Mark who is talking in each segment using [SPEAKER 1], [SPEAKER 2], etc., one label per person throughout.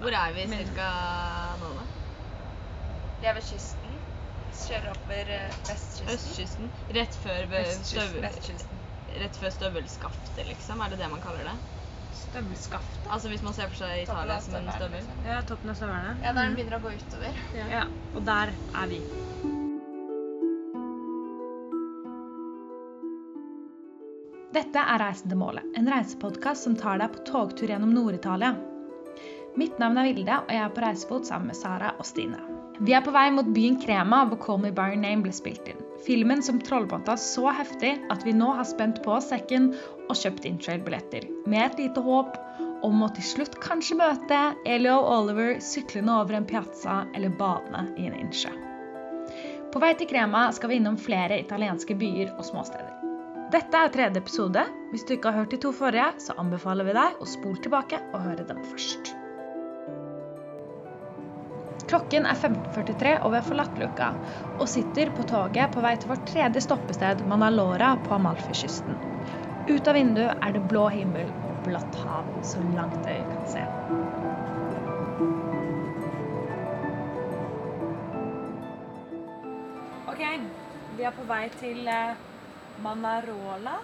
[SPEAKER 1] Hvor er vi cirka nå, da?
[SPEAKER 2] Det er ved kysten. Kjører oppover eh, vestkysten.
[SPEAKER 1] Østkysten? Rett før, be-
[SPEAKER 2] Østkysten,
[SPEAKER 1] støv-
[SPEAKER 2] Vestkysten.
[SPEAKER 1] rett før støvelskaftet, liksom? Er det det man kaller det?
[SPEAKER 3] Støvelskaftet.
[SPEAKER 1] Altså hvis man ser for seg
[SPEAKER 2] Toppen
[SPEAKER 1] Italia
[SPEAKER 2] av
[SPEAKER 1] som en
[SPEAKER 2] støvelen,
[SPEAKER 1] støvel?
[SPEAKER 2] liksom.
[SPEAKER 3] Ja, toppen av støvlene.
[SPEAKER 2] Ja, da den begynner å gå utover.
[SPEAKER 3] Ja, og der er vi.
[SPEAKER 4] Dette er Reisen til målet, en reisepodkast som tar deg på togtur gjennom Nord-Italia. Mitt navn er Vilde, og jeg er på reisefot sammen med Sara og Stine. Vi er på vei mot byen Krema, hvor Call Me By Your Name ble spilt inn. Filmen som trollbånta så heftig at vi nå har spent på oss sekken og kjøpt intrail-billetter, med et lite håp om å til slutt kanskje møte Elio og Oliver syklende over en piazza eller badende i en innsjø. På vei til Krema skal vi innom flere italienske byer og småsteder. Dette er tredje episode. Hvis du ikke har hørt de to forrige, så anbefaler vi deg å spole tilbake og høre dem først. Klokken er 15.43, og vi har forlatt Luca og sitter på toget på vei til vårt tredje stoppested, Manalora på Amalfi-kysten. Ut av vinduet er det blå himmel og blått hav så langt øyet kan se.
[SPEAKER 3] Ok, vi er på vei til eh, Manarola.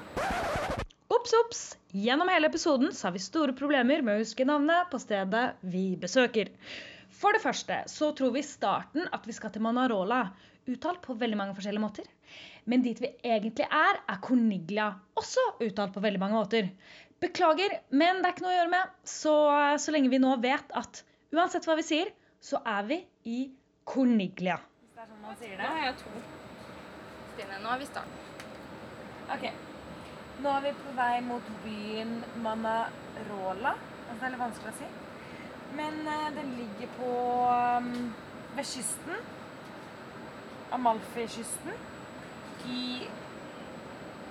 [SPEAKER 4] Ops, ops! Gjennom hele episoden så har vi store problemer med å huske navnet på stedet vi besøker. For det første så tror vi i starten at vi skal til Manarola, uttalt på veldig mange forskjellige måter. Men dit vi egentlig er, er Corniglia, også uttalt på veldig mange måter. Beklager, men det er ikke noe å gjøre med. Så, så lenge vi nå vet at uansett hva vi sier, så er vi i Corniglia.
[SPEAKER 3] Hvis det er sånn man sier
[SPEAKER 2] Nå
[SPEAKER 3] det.
[SPEAKER 2] har jeg to. Stine, nå er vi i starten.
[SPEAKER 3] Ok, nå er vi på vei mot byen Manarola. Altså, det er litt vanskelig å si. Men eh, den ligger på um, ved kysten. Amalfi-kysten. I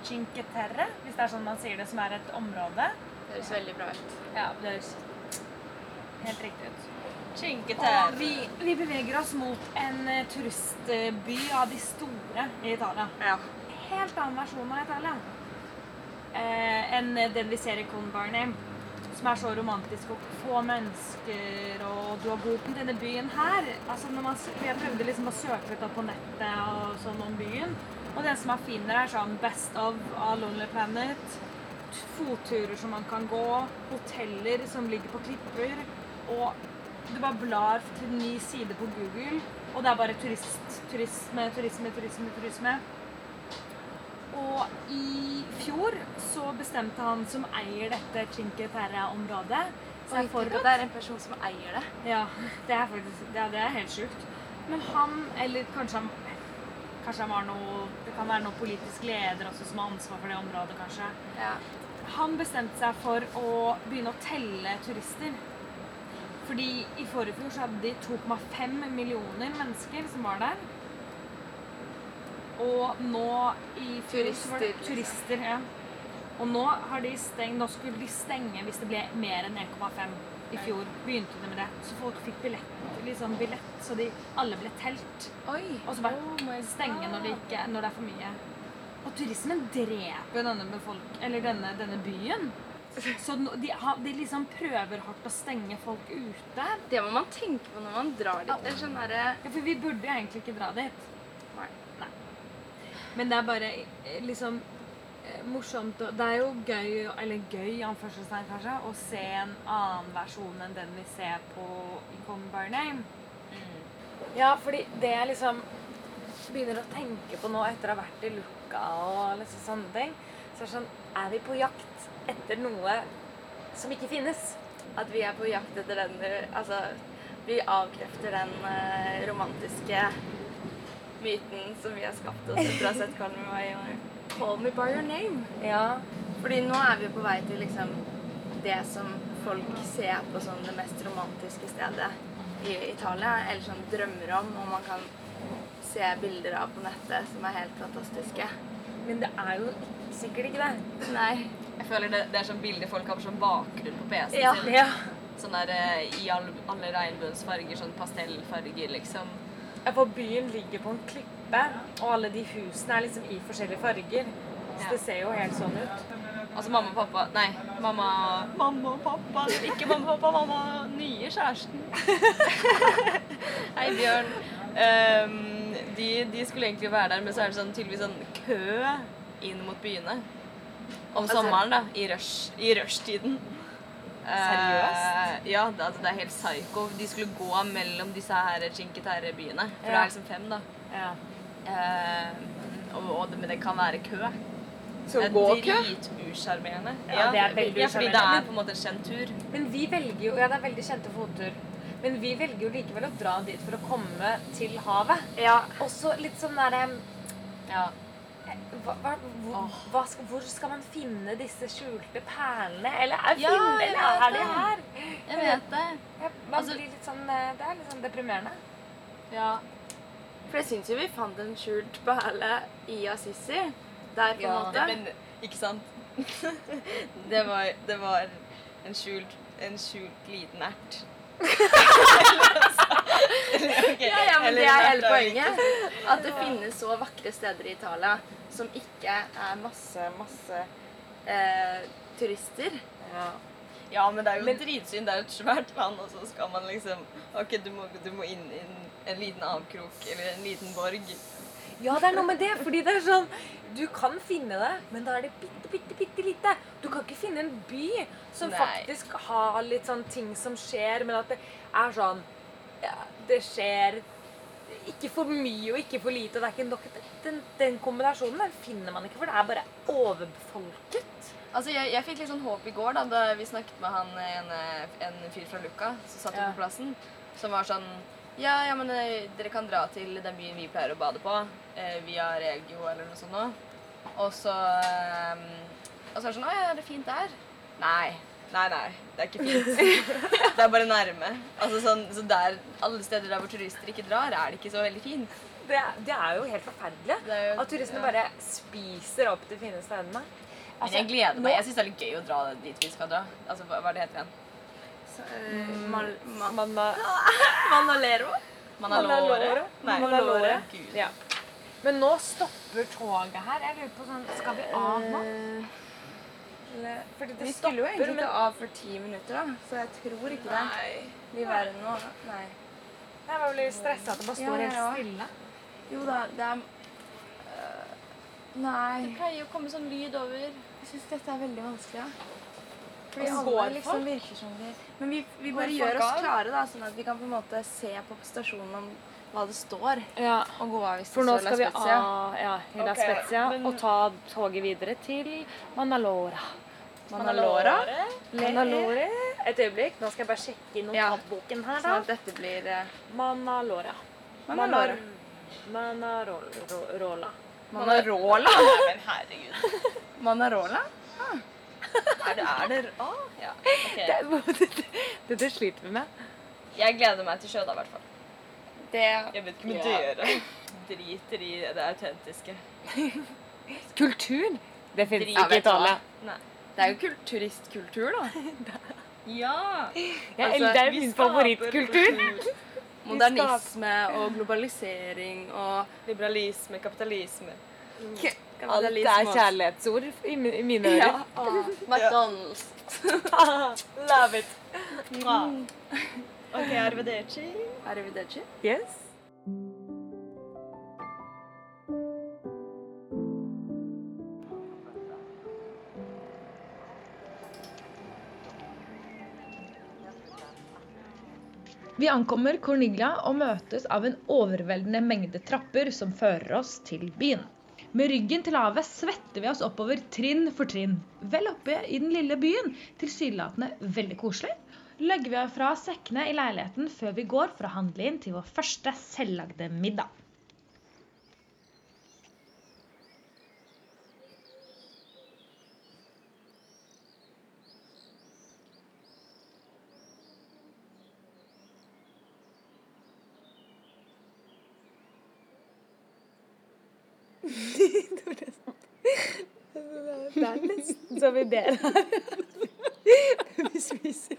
[SPEAKER 3] Cinque Terre, hvis det er sånn man sier det, som er et område.
[SPEAKER 2] Det høres veldig bra ut.
[SPEAKER 3] Ja, det høres helt riktig ut. Og vi, vi beveger oss mot en eh, turistby av de store i Italia.
[SPEAKER 2] Ja.
[SPEAKER 3] Helt annen versjon av Italia eh, enn den vi ser i Con Bar Name. Som er så romantisk og få mennesker og du har god Denne byen her altså når man, s- Jeg prøvde liksom å søke litt opp på nettet og sånn om byen. Og den som man finner, er sånn Best of av Lonely Planet. t- Fotturer som man kan gå. Hoteller som ligger på klipper. Og du bare blar til en ny side på Google, og det er bare turist, turisme, turisme, turisme, turisme. Og i fjor så bestemte han som eier dette Cinque Terre-området
[SPEAKER 2] Oi,
[SPEAKER 3] seg
[SPEAKER 2] tenk
[SPEAKER 3] for
[SPEAKER 2] at det er en person som eier det.
[SPEAKER 3] ja, det er faktisk ja, det er helt sjukt. Men han, eller kanskje han Kanskje han var noe Det kan være noen politisk leder også som har ansvar for det området, kanskje.
[SPEAKER 2] Ja.
[SPEAKER 3] Han bestemte seg for å begynne å telle turister. Fordi i forrige fjor så hadde de 2,5 millioner mennesker som var der. Og nå i fjor så var det
[SPEAKER 2] Turister, liksom.
[SPEAKER 3] turister ja. Og nå har de stengt, nå skulle de stenge hvis det ble mer enn 1,5. I fjor begynte de med det. Så folk fikk billett, liksom billett så de, alle ble telt.
[SPEAKER 2] Oi. Oh
[SPEAKER 3] Og så bare stenge når det, ikke, når det er for mye. Og turismen dreper jo denne, befolk, eller denne, denne byen. Så nå- de, har- de liksom prøver hardt å stenge folk ute.
[SPEAKER 2] Det må man tenke på når man drar dit. Det er sånn derre
[SPEAKER 3] Ja, for vi burde jo egentlig ikke dra dit.
[SPEAKER 2] Nei.
[SPEAKER 3] Men det er bare eh, liksom eh, morsomt og Det er jo gøy, eller gøy i anførselstegn kanskje, å se en annen versjon enn den vi ser på i Come By Your Name.
[SPEAKER 2] Mm.
[SPEAKER 3] Ja, fordi det jeg liksom begynner å tenke på nå etter å ha vært i Lukka og liksom sånne ting, så er det sånn Er vi på jakt etter noe som ikke finnes?
[SPEAKER 2] at vi er på jakt etter den Altså, vi avkrefter den eh, romantiske myten som vi har skapt oss etter å ha sett Call Me By Your Call Me By Your Name.
[SPEAKER 3] Ja.
[SPEAKER 2] Fordi nå er vi på vei til liksom det som folk ser på som det mest romantiske stedet i Italia, eller sånn drømmer om, og man kan se bilder av på nettet som er helt fantastiske.
[SPEAKER 3] Men det er jo ikke- sikkert ikke det.
[SPEAKER 2] Nei.
[SPEAKER 5] Jeg føler det, det er sånn bilder folk har som bakgrunn på PC-en
[SPEAKER 2] Ja.
[SPEAKER 5] sin.
[SPEAKER 3] Ja.
[SPEAKER 5] Sånn der eh, i all, alle regnbuens farger, sånn pastellfarger, liksom.
[SPEAKER 3] Ja, for byen ligger på en klippe, og alle de husene er liksom i forskjellige farger. Så
[SPEAKER 5] Ja.
[SPEAKER 3] det ser jo helt sånn ut.
[SPEAKER 2] Altså mamma og pappa Nei, mamma Mamma og pappa. Ikke mamma og pappa, mamma nye kjæresten. Hei, Bjørn. Ehm, de, de skulle egentlig være der, men så er det sånn, tydeligvis sånn kø inn mot byene. Om sommeren, da. I, rush, i rushtiden.
[SPEAKER 1] Seriøst?
[SPEAKER 2] Eh, ja, det, altså, det er helt psycho. De skulle gå mellom disse her Cinque Terre-byene. For det
[SPEAKER 6] Ja.
[SPEAKER 2] er liksom fem, da.
[SPEAKER 6] Ja.
[SPEAKER 2] Eh, og, og det, men det kan være kø.
[SPEAKER 6] Så
[SPEAKER 2] Det er
[SPEAKER 6] gå-kø?
[SPEAKER 2] Dritusjarmerende.
[SPEAKER 6] Ja, det er veldig
[SPEAKER 2] ja, fordi det
[SPEAKER 6] usjarmerende.
[SPEAKER 2] er på en måte en kjent tur.
[SPEAKER 4] Men vi velger jo Ja, det er veldig kjente fottur. Men vi velger jo likevel å dra dit for å komme til havet.
[SPEAKER 7] Ja,
[SPEAKER 4] Også litt sånn derre
[SPEAKER 2] Ja.
[SPEAKER 4] hva, hva, hvor, hva skal, hvor skal man finne disse skjulte perlene? Eller er,
[SPEAKER 2] Ja,
[SPEAKER 4] finne,
[SPEAKER 2] jeg
[SPEAKER 4] eller
[SPEAKER 2] vet
[SPEAKER 4] er de her?
[SPEAKER 2] Jeg vet det.
[SPEAKER 4] Ja, Man
[SPEAKER 2] Altså-
[SPEAKER 4] blir litt sånn eh, Det er litt sånn deprimerende.
[SPEAKER 2] Ja.
[SPEAKER 7] for jeg syns jo vi fant en skjult perle i Assisi. Der, på en
[SPEAKER 4] Ja.
[SPEAKER 7] måte.
[SPEAKER 2] Men ikke sant? det, var, det var en skjult, en skjult liten ert. Eller, ok,
[SPEAKER 7] Ja, ja, men
[SPEAKER 2] eller
[SPEAKER 7] det er
[SPEAKER 2] en ert
[SPEAKER 7] hele
[SPEAKER 2] av en-
[SPEAKER 7] poenget. At det finnes så vakre steder i Italia som ikke er masse, masse eh, turister.
[SPEAKER 2] Ja, men det er jo dritsyn. Det er jo et svært land, og så skal man liksom OK, du må, du må inn i en, en liten avkrok eller en liten borg.
[SPEAKER 4] Ja, det er noe med det. Fordi det er sånn Du kan finne det, men da er det bitte, bitte, bitte lite. Du kan ikke finne en by som
[SPEAKER 2] Nei.
[SPEAKER 4] faktisk har litt sånn ting som skjer, men at det er sånn ja, Det skjer ikke for mye og ikke for lite. og Det er ikke nok. Den, den kombinasjonen den finner man ikke, for det er bare overbefolket.
[SPEAKER 2] Altså, jeg, jeg fikk litt sånn håp i går da, da vi snakket med han, en, en fyr fra Luca som satt
[SPEAKER 4] Ja.
[SPEAKER 2] på plassen, som var sånn Ja, ja, men eh, dere kan dra til den byen vi pleier å bade på, eh, via Regio eller noe sånt nå. Og så eh, Og så er det sånn Å ja, er det fint der? Nei. Nei, nei. Det er ikke fint. det er bare nærme. Altså sånn, Så der, alle steder der hvor turister ikke drar, er det ikke så veldig fint.
[SPEAKER 4] Det, er- det er jo helt forferdelig.
[SPEAKER 2] Det er jo-
[SPEAKER 4] At turistene
[SPEAKER 2] ja.
[SPEAKER 4] bare spiser opp de fine stedene.
[SPEAKER 2] Men jeg gleder meg. Jeg syns det er litt gøy å dra dit vi skal dra. Altså, hva, hva er det heter igjen?
[SPEAKER 7] Så, eh, mal, ma,
[SPEAKER 4] Man,
[SPEAKER 7] Manolero.
[SPEAKER 2] Manalore. Nei,
[SPEAKER 4] Manalore.
[SPEAKER 2] Gud.
[SPEAKER 4] Ja. Men nå stopper toget her. Jeg lurer på sånn, Skal vi av nå? Eller- Fordi det
[SPEAKER 7] Vi skulle jo egentlig
[SPEAKER 4] men
[SPEAKER 7] ikke av for ti minutter, da, så jeg tror ikke det blir verre nå. Nei.
[SPEAKER 4] Jeg var veldig stressa at det bare
[SPEAKER 7] Ja,
[SPEAKER 4] står helt
[SPEAKER 7] ja, ja.
[SPEAKER 4] stille.
[SPEAKER 7] Jo da, det er øh, Nei.
[SPEAKER 2] pleier å komme sånn lyd over.
[SPEAKER 7] Jeg syns dette er veldig vanskelig. Ja. Fordi
[SPEAKER 4] Og så
[SPEAKER 7] alle
[SPEAKER 4] går
[SPEAKER 7] liksom
[SPEAKER 4] folk.
[SPEAKER 7] virker som de Men vi, vi bare
[SPEAKER 4] folk
[SPEAKER 7] gjør oss
[SPEAKER 4] av?
[SPEAKER 7] klare, da, sånn at vi kan på en måte se på stasjonen om hva det står,
[SPEAKER 4] Ja,
[SPEAKER 7] og gå av hvis det
[SPEAKER 4] For nå
[SPEAKER 7] står La
[SPEAKER 4] skal vi
[SPEAKER 7] Spezia.
[SPEAKER 4] av ja, Hilla
[SPEAKER 2] Ok,
[SPEAKER 4] Spezia
[SPEAKER 2] men-
[SPEAKER 4] og ta toget videre til Manalora.
[SPEAKER 7] Manalora.
[SPEAKER 4] Manalore. Et øyeblikk. Nå skal jeg bare sjekke i
[SPEAKER 7] Ja.
[SPEAKER 4] notatboken her,
[SPEAKER 7] Sånn
[SPEAKER 4] da.
[SPEAKER 7] at dette blir eh,
[SPEAKER 4] Manalora.
[SPEAKER 7] Manalora.
[SPEAKER 4] Manarola.
[SPEAKER 7] Manarola?
[SPEAKER 2] Men herregud.
[SPEAKER 7] Manarola?
[SPEAKER 2] Er det, er det Å, ja.
[SPEAKER 4] Det
[SPEAKER 2] ok.
[SPEAKER 4] er- Dette dette sliter vi med.
[SPEAKER 2] Jeg gleder meg til sjø, da, i hvert fall.
[SPEAKER 7] Det
[SPEAKER 2] Jeg vet ikke med dere. Driter i det autentiske.
[SPEAKER 4] Kultur, det fins
[SPEAKER 2] Drit- Ja,
[SPEAKER 4] ikke i
[SPEAKER 2] vet du hva?
[SPEAKER 4] Italia.
[SPEAKER 2] Nei.
[SPEAKER 7] Det er jo kul turistkultur, da.
[SPEAKER 2] Ja!
[SPEAKER 4] Jeg,
[SPEAKER 7] Altså,
[SPEAKER 4] det er
[SPEAKER 2] vi
[SPEAKER 4] min
[SPEAKER 2] skaper
[SPEAKER 4] favorittkultur.
[SPEAKER 2] kultur.
[SPEAKER 7] Modernisme og globalisering og
[SPEAKER 2] Liberalisme, kapitalisme.
[SPEAKER 4] Alt er kjærlighetsord i mi- i mine ører.
[SPEAKER 7] Ja. McDonald's.
[SPEAKER 4] Love it.
[SPEAKER 2] OK, arvederci.
[SPEAKER 7] Mm. Arrivederci.
[SPEAKER 4] Yes.
[SPEAKER 3] Vi ankommer Corniglia og møtes av en overveldende mengde trapper som fører oss til byen. Med ryggen til havet svetter vi oss oppover trinn for trinn. Vel oppe i den lille byen, tilsynelatende veldig koselig, legger vi av fra oss sekkene i leiligheten før vi går for å handle inn til vår første selvlagde middag.
[SPEAKER 4] Så vi ber her. Vi spiser.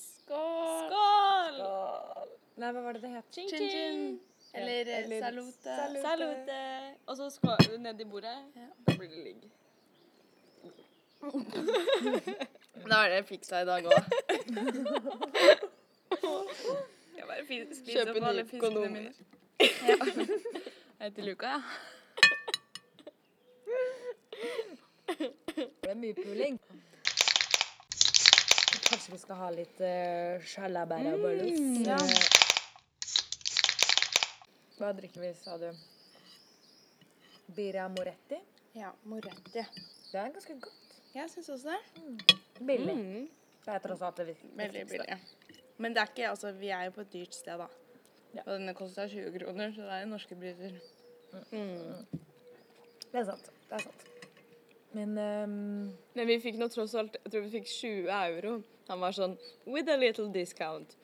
[SPEAKER 2] Skål!
[SPEAKER 4] Nei, hva var det det het? Ching,
[SPEAKER 1] Chin chin. Eller,
[SPEAKER 2] eh,
[SPEAKER 4] Eller
[SPEAKER 1] salute.
[SPEAKER 4] salute.
[SPEAKER 2] Salute! Og så skåler du nedi bordet. Da blir det ligg. Da er det fiksa i dag òg.
[SPEAKER 1] Jeg bare fi- spiser
[SPEAKER 2] Kjøpe
[SPEAKER 1] opp alle fiskene
[SPEAKER 2] Nyconomer.
[SPEAKER 1] mine.
[SPEAKER 2] Jeg heter Luka, ja.
[SPEAKER 4] Det er mye puling. Kanskje vi skal ha litt uh, sjalabaraballus. Hva drikker vi, sa du? Birra moretti.
[SPEAKER 1] Ja, moretti.
[SPEAKER 4] Det er ganske godt.
[SPEAKER 1] Jeg syns også det.
[SPEAKER 4] Billig. Det er tross alt det vi-
[SPEAKER 1] Veldig billig. Men det er ikke, altså, vi er jo på et dyrt sted, da.
[SPEAKER 4] Ja.
[SPEAKER 1] Og denne kosta 20 kroner, så det er jo norske priser.
[SPEAKER 4] Det er sant. Det er sant. Men ehm,
[SPEAKER 2] Men vi fikk nå tross alt Jeg tror vi fikk 20 euro. Han var sånn With a little discount.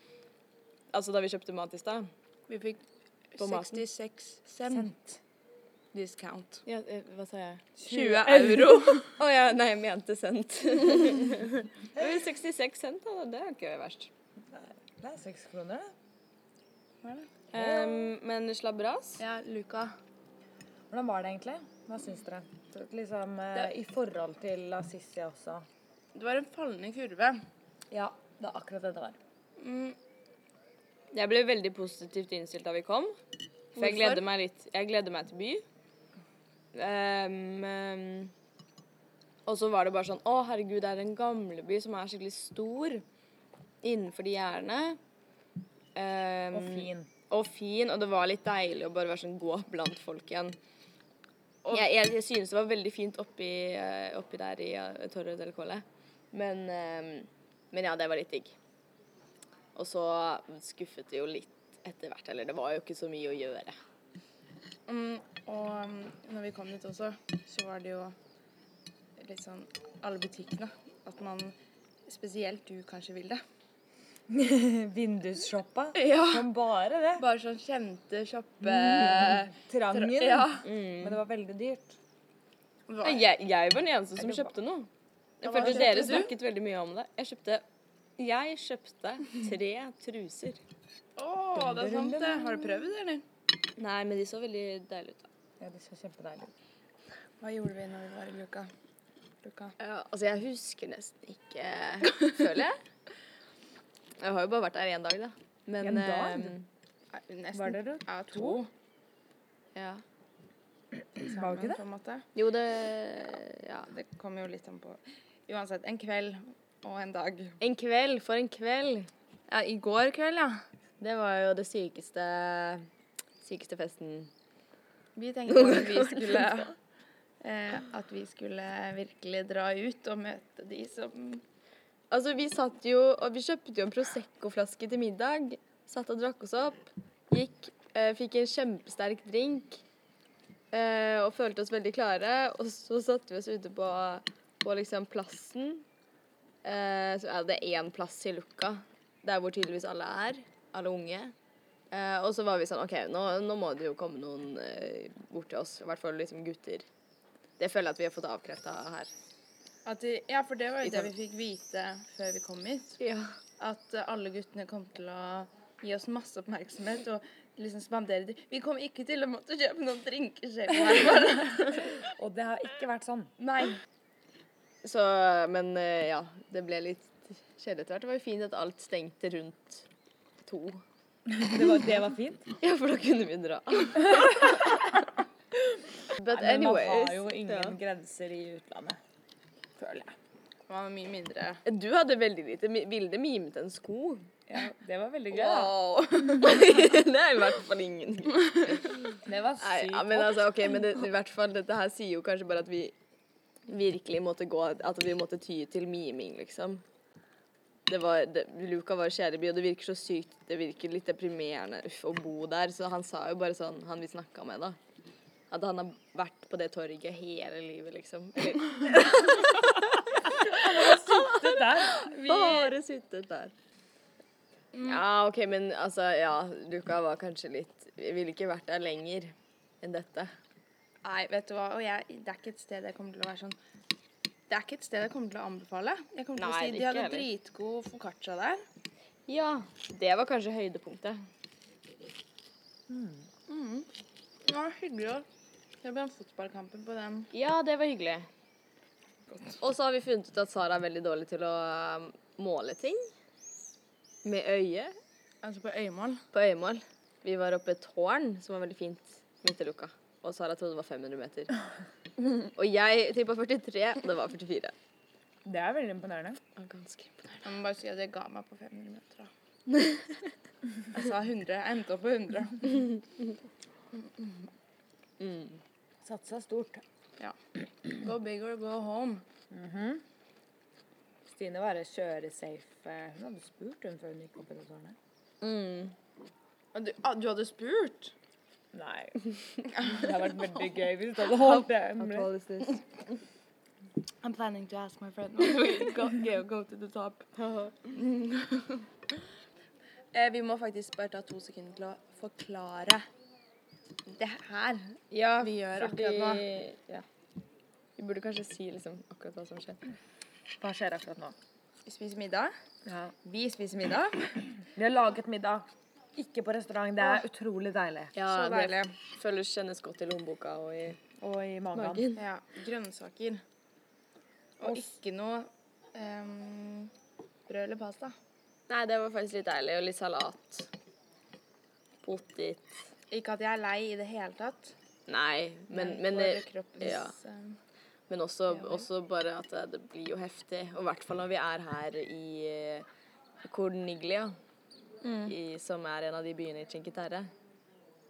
[SPEAKER 2] Altså da vi kjøpte mat i stad.
[SPEAKER 1] Vi fikk
[SPEAKER 2] På maten.
[SPEAKER 1] 66 cent discount.
[SPEAKER 2] Ja, eh, hva sa jeg?
[SPEAKER 1] 20
[SPEAKER 2] euro. Å ja, nei, jeg mente cent. Men 66 cent, da. Det er jo ikke verst.
[SPEAKER 4] det er seks kroner, det.
[SPEAKER 2] Um, men slabberas?
[SPEAKER 1] Ja, Luca.
[SPEAKER 4] Hvordan var det egentlig? Hva syns dere? Så, Liksom, eh, I forhold til Assisi også.
[SPEAKER 1] Det var en fallende kurve.
[SPEAKER 4] Ja, det er akkurat det det var.
[SPEAKER 2] Jeg ble veldig positivt innstilt da vi kom. For jeg
[SPEAKER 1] Hvorfor?
[SPEAKER 2] gleder meg litt. Jeg gleder meg til by. Ehm, ehm, og så var det bare sånn Å, herregud, det er en gamleby som er skikkelig stor innenfor de gjerdene. Ehm,
[SPEAKER 4] Og fin.
[SPEAKER 2] og fin, og det var litt deilig å bare være sånn gå blant folk igjen. jeg, jeg, jeg synes det var veldig fint oppi, eh, oppi der i eh, Torre del Colle. Men, eh, men ja, det var litt digg. Og så skuffet det jo litt etter hvert. Eller det var jo ikke så mye å gjøre.
[SPEAKER 1] Mm, og um, når vi kom dit også, så var det jo litt sånn alle butikkene. At man Spesielt du kanskje vil det.
[SPEAKER 4] Vindusshoppa.
[SPEAKER 1] Ja.
[SPEAKER 4] Som bare det.
[SPEAKER 1] Bare sånn kjente, kjappe Mm.
[SPEAKER 4] Trangen. Mm.
[SPEAKER 1] Ja.
[SPEAKER 4] Men det var veldig dyrt.
[SPEAKER 1] Hva-
[SPEAKER 2] Jeg, jeg var den eneste som kjøpte noe. Jeg
[SPEAKER 1] hva
[SPEAKER 2] følte
[SPEAKER 1] kjøpte
[SPEAKER 2] dere
[SPEAKER 1] du?
[SPEAKER 2] snakket veldig mye om det. Jeg kjøpte, jeg kjøpte tre truser.
[SPEAKER 1] Å, det er sant det. Har du prøvd det, eller?
[SPEAKER 2] Nei, men de så veldig deilige ut. da.
[SPEAKER 4] Ja, det var kjempedeilig.
[SPEAKER 1] Hva gjorde vi når vi var i Luca? Luca.
[SPEAKER 2] Ja, altså, jeg husker nesten ikke, føler jeg. Jeg har jo bare vært der én dag, da. Men,
[SPEAKER 4] En dag?
[SPEAKER 2] ehm,
[SPEAKER 1] Nei, Nesten.
[SPEAKER 4] Var dere
[SPEAKER 1] Ja, to.
[SPEAKER 2] ja.
[SPEAKER 4] Var det ikke det?
[SPEAKER 1] På en måte.
[SPEAKER 2] Jo, det Ja.
[SPEAKER 1] Det kommer jo litt an på Uansett, en kveld og en dag.
[SPEAKER 2] En kveld, for en kveld.
[SPEAKER 1] Ja, i går kveld, ja.
[SPEAKER 2] Det var jo det sykeste Sykeste festen.
[SPEAKER 1] Vi tenkte at vi skulle eh, At vi skulle virkelig dra ut og møte de som
[SPEAKER 2] Altså, vi satt jo Og vi kjøpte jo en Prosecco-flaske til middag. Satt og drakk oss opp. Gikk, eh, fikk en kjempesterk drink. Eh, og følte oss veldig klare. Og så satte vi oss ute på, på liksom plassen. Eh, så er det én plass i Lukka, der hvor tydeligvis alle er. Alle unge. Eh, og så var vi sånn OK, nå, nå må det jo komme noen eh, bort til oss. I hvert fall liksom gutter. Det føler jeg at vi har fått avkrefta her.
[SPEAKER 1] at de, Ja, for det var
[SPEAKER 2] I
[SPEAKER 1] jo det
[SPEAKER 2] Trondheim.
[SPEAKER 1] vi fikk vite før vi kom hit.
[SPEAKER 2] Ja.
[SPEAKER 1] At eh, alle guttene kom til å gi oss masse oppmerksomhet og liksom spandere de. Vi kom ikke til å måtte kjøpe noen drinker selv. her, bare.
[SPEAKER 4] Og det har ikke vært sånn.
[SPEAKER 1] Nei.
[SPEAKER 2] Så, men eh, ja, det ble litt kjedelig etter hvert. Det var jo fint at alt stengte rundt to.
[SPEAKER 4] Det var, det var fint.
[SPEAKER 2] Ja, for da kunne vi dra. But
[SPEAKER 4] Men man
[SPEAKER 2] anyways.
[SPEAKER 4] har jo ingen
[SPEAKER 2] ja.
[SPEAKER 4] grenser i utlandet.
[SPEAKER 1] Det var mye mindre
[SPEAKER 2] Du hadde veldig lite. Mi- Vilde mimet en sko.
[SPEAKER 4] Ja, det var veldig gøy. da.
[SPEAKER 2] det er i hvert fall ingen.
[SPEAKER 4] Det var
[SPEAKER 2] Nei,
[SPEAKER 4] sykt.
[SPEAKER 2] ja, men altså, ok, men det, i hvert fall, dette her sier jo kanskje bare at vi virkelig måtte gå, at vi måtte ty til miming, liksom. Det var, det, Luca var kjæreby, og det virker så sykt, det virker litt deprimerende uff, å bo der, så han sa jo bare sånn, han vi snakket med da, at han har vært på det torget hele livet, liksom. Eller,
[SPEAKER 4] Det der.
[SPEAKER 2] bare suttet der.
[SPEAKER 4] Mm.
[SPEAKER 2] Ja, ok, men altså, ja, Luca var kanskje litt, vi ville ikke vært der lenger enn dette.
[SPEAKER 1] Nei, vet du hva. Og jeg, det er ikke et sted jeg kommer til å være sånn Det er ikke et sted jeg kommer til å anbefale. Jeg kommer til
[SPEAKER 2] Nei,
[SPEAKER 1] å si
[SPEAKER 2] det
[SPEAKER 1] De
[SPEAKER 2] ikke
[SPEAKER 1] hadde
[SPEAKER 2] heller.
[SPEAKER 1] dritgod foccaccia der.
[SPEAKER 2] Ja, det var kanskje høydepunktet.
[SPEAKER 1] Det var hyggelig å se på den fotballkampen på den.
[SPEAKER 2] Ja, det var hyggelig. Og så har vi funnet ut at Sara er veldig dårlig til å um, måle ting. Med øye.
[SPEAKER 1] Altså på øyemål.
[SPEAKER 2] På øyemål. Vi var oppe i et tårn som var veldig fint midt i luka. Og Sara trodde det var 500 meter. Og jeg tippa 43, og det var 44.
[SPEAKER 4] Det er veldig imponerende.
[SPEAKER 2] Og Ganske imponerende.
[SPEAKER 1] Jeg må bare si at jeg ga meg på 500 meter. Da. Jeg sa 100. Jeg endte opp på 100.
[SPEAKER 4] Satsa stort.
[SPEAKER 1] Go big or go home.
[SPEAKER 4] Stine bare kjøre safe. eh, Hun hadde spurt hun før hun gikk opp i det tårnet.
[SPEAKER 1] Og Du, ah, du hadde spurt?
[SPEAKER 4] Nei. Det hadde vært veldig gøy hvis du hadde holdt det hemmelig.
[SPEAKER 1] I'm planning to ask my friend when we go, go, go to the top. eh, vi må faktisk bare ta to sekunder til å forklare det her
[SPEAKER 2] Ja,
[SPEAKER 1] vi gjør
[SPEAKER 2] fordi
[SPEAKER 1] akkurat nå.
[SPEAKER 2] ja. Vi burde kanskje si liksom, akkurat hva som skjer.
[SPEAKER 4] Hva skjer akkurat nå?
[SPEAKER 1] Vi spiser middag.
[SPEAKER 4] Ja.
[SPEAKER 1] Vi spiser middag.
[SPEAKER 4] Vi har laget middag. Ikke på restaurant. Det er utrolig deilig.
[SPEAKER 2] Ja,
[SPEAKER 1] Så deilig.
[SPEAKER 2] Det føles kjennes godt i lommeboka og i
[SPEAKER 4] Og i magen.
[SPEAKER 2] magen.
[SPEAKER 1] Ja, grønnsaker. Og ikke noe ehm, brød eller pasta.
[SPEAKER 2] Nei, det var faktisk litt deilig. Og litt salat. Potet.
[SPEAKER 1] Ikke at jeg er lei i det hele tatt.
[SPEAKER 2] Nei, men, men,
[SPEAKER 1] for
[SPEAKER 2] eh,
[SPEAKER 1] kroppens
[SPEAKER 2] ja.
[SPEAKER 1] ehm,
[SPEAKER 2] men også, også bare at det- det blir jo heftig. Og i hvert fall når vi er her i eh, Corniglia,
[SPEAKER 1] Mm.
[SPEAKER 2] i, som er en av de byene i Cinque Terre.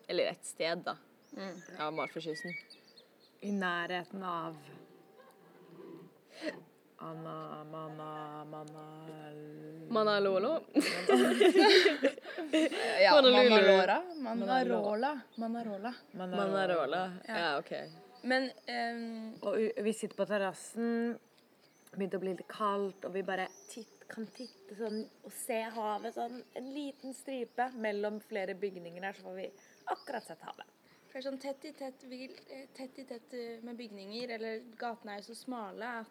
[SPEAKER 2] Eller et sted, da.
[SPEAKER 1] Mm.
[SPEAKER 2] Av Marforskysten.
[SPEAKER 4] I nærheten av Anna, manna,
[SPEAKER 1] Mm.
[SPEAKER 4] manna
[SPEAKER 2] Manalolo.
[SPEAKER 1] ja,
[SPEAKER 2] Honolulu.
[SPEAKER 1] Manalora. Manarola. Manarola.
[SPEAKER 2] Manarola. Ja, OK.
[SPEAKER 1] Men ehm,
[SPEAKER 4] Og u- vi sitter på terrassen, begynte å bli litt kaldt, og vi bare titt, kan titte sånn og se havet sånn en liten stripe mellom flere bygninger her, så får vi akkurat sett havet.
[SPEAKER 1] Det er sånn tett i tett, vil- eh, tett i tett eh, med bygninger, eller gatene er jo så smale at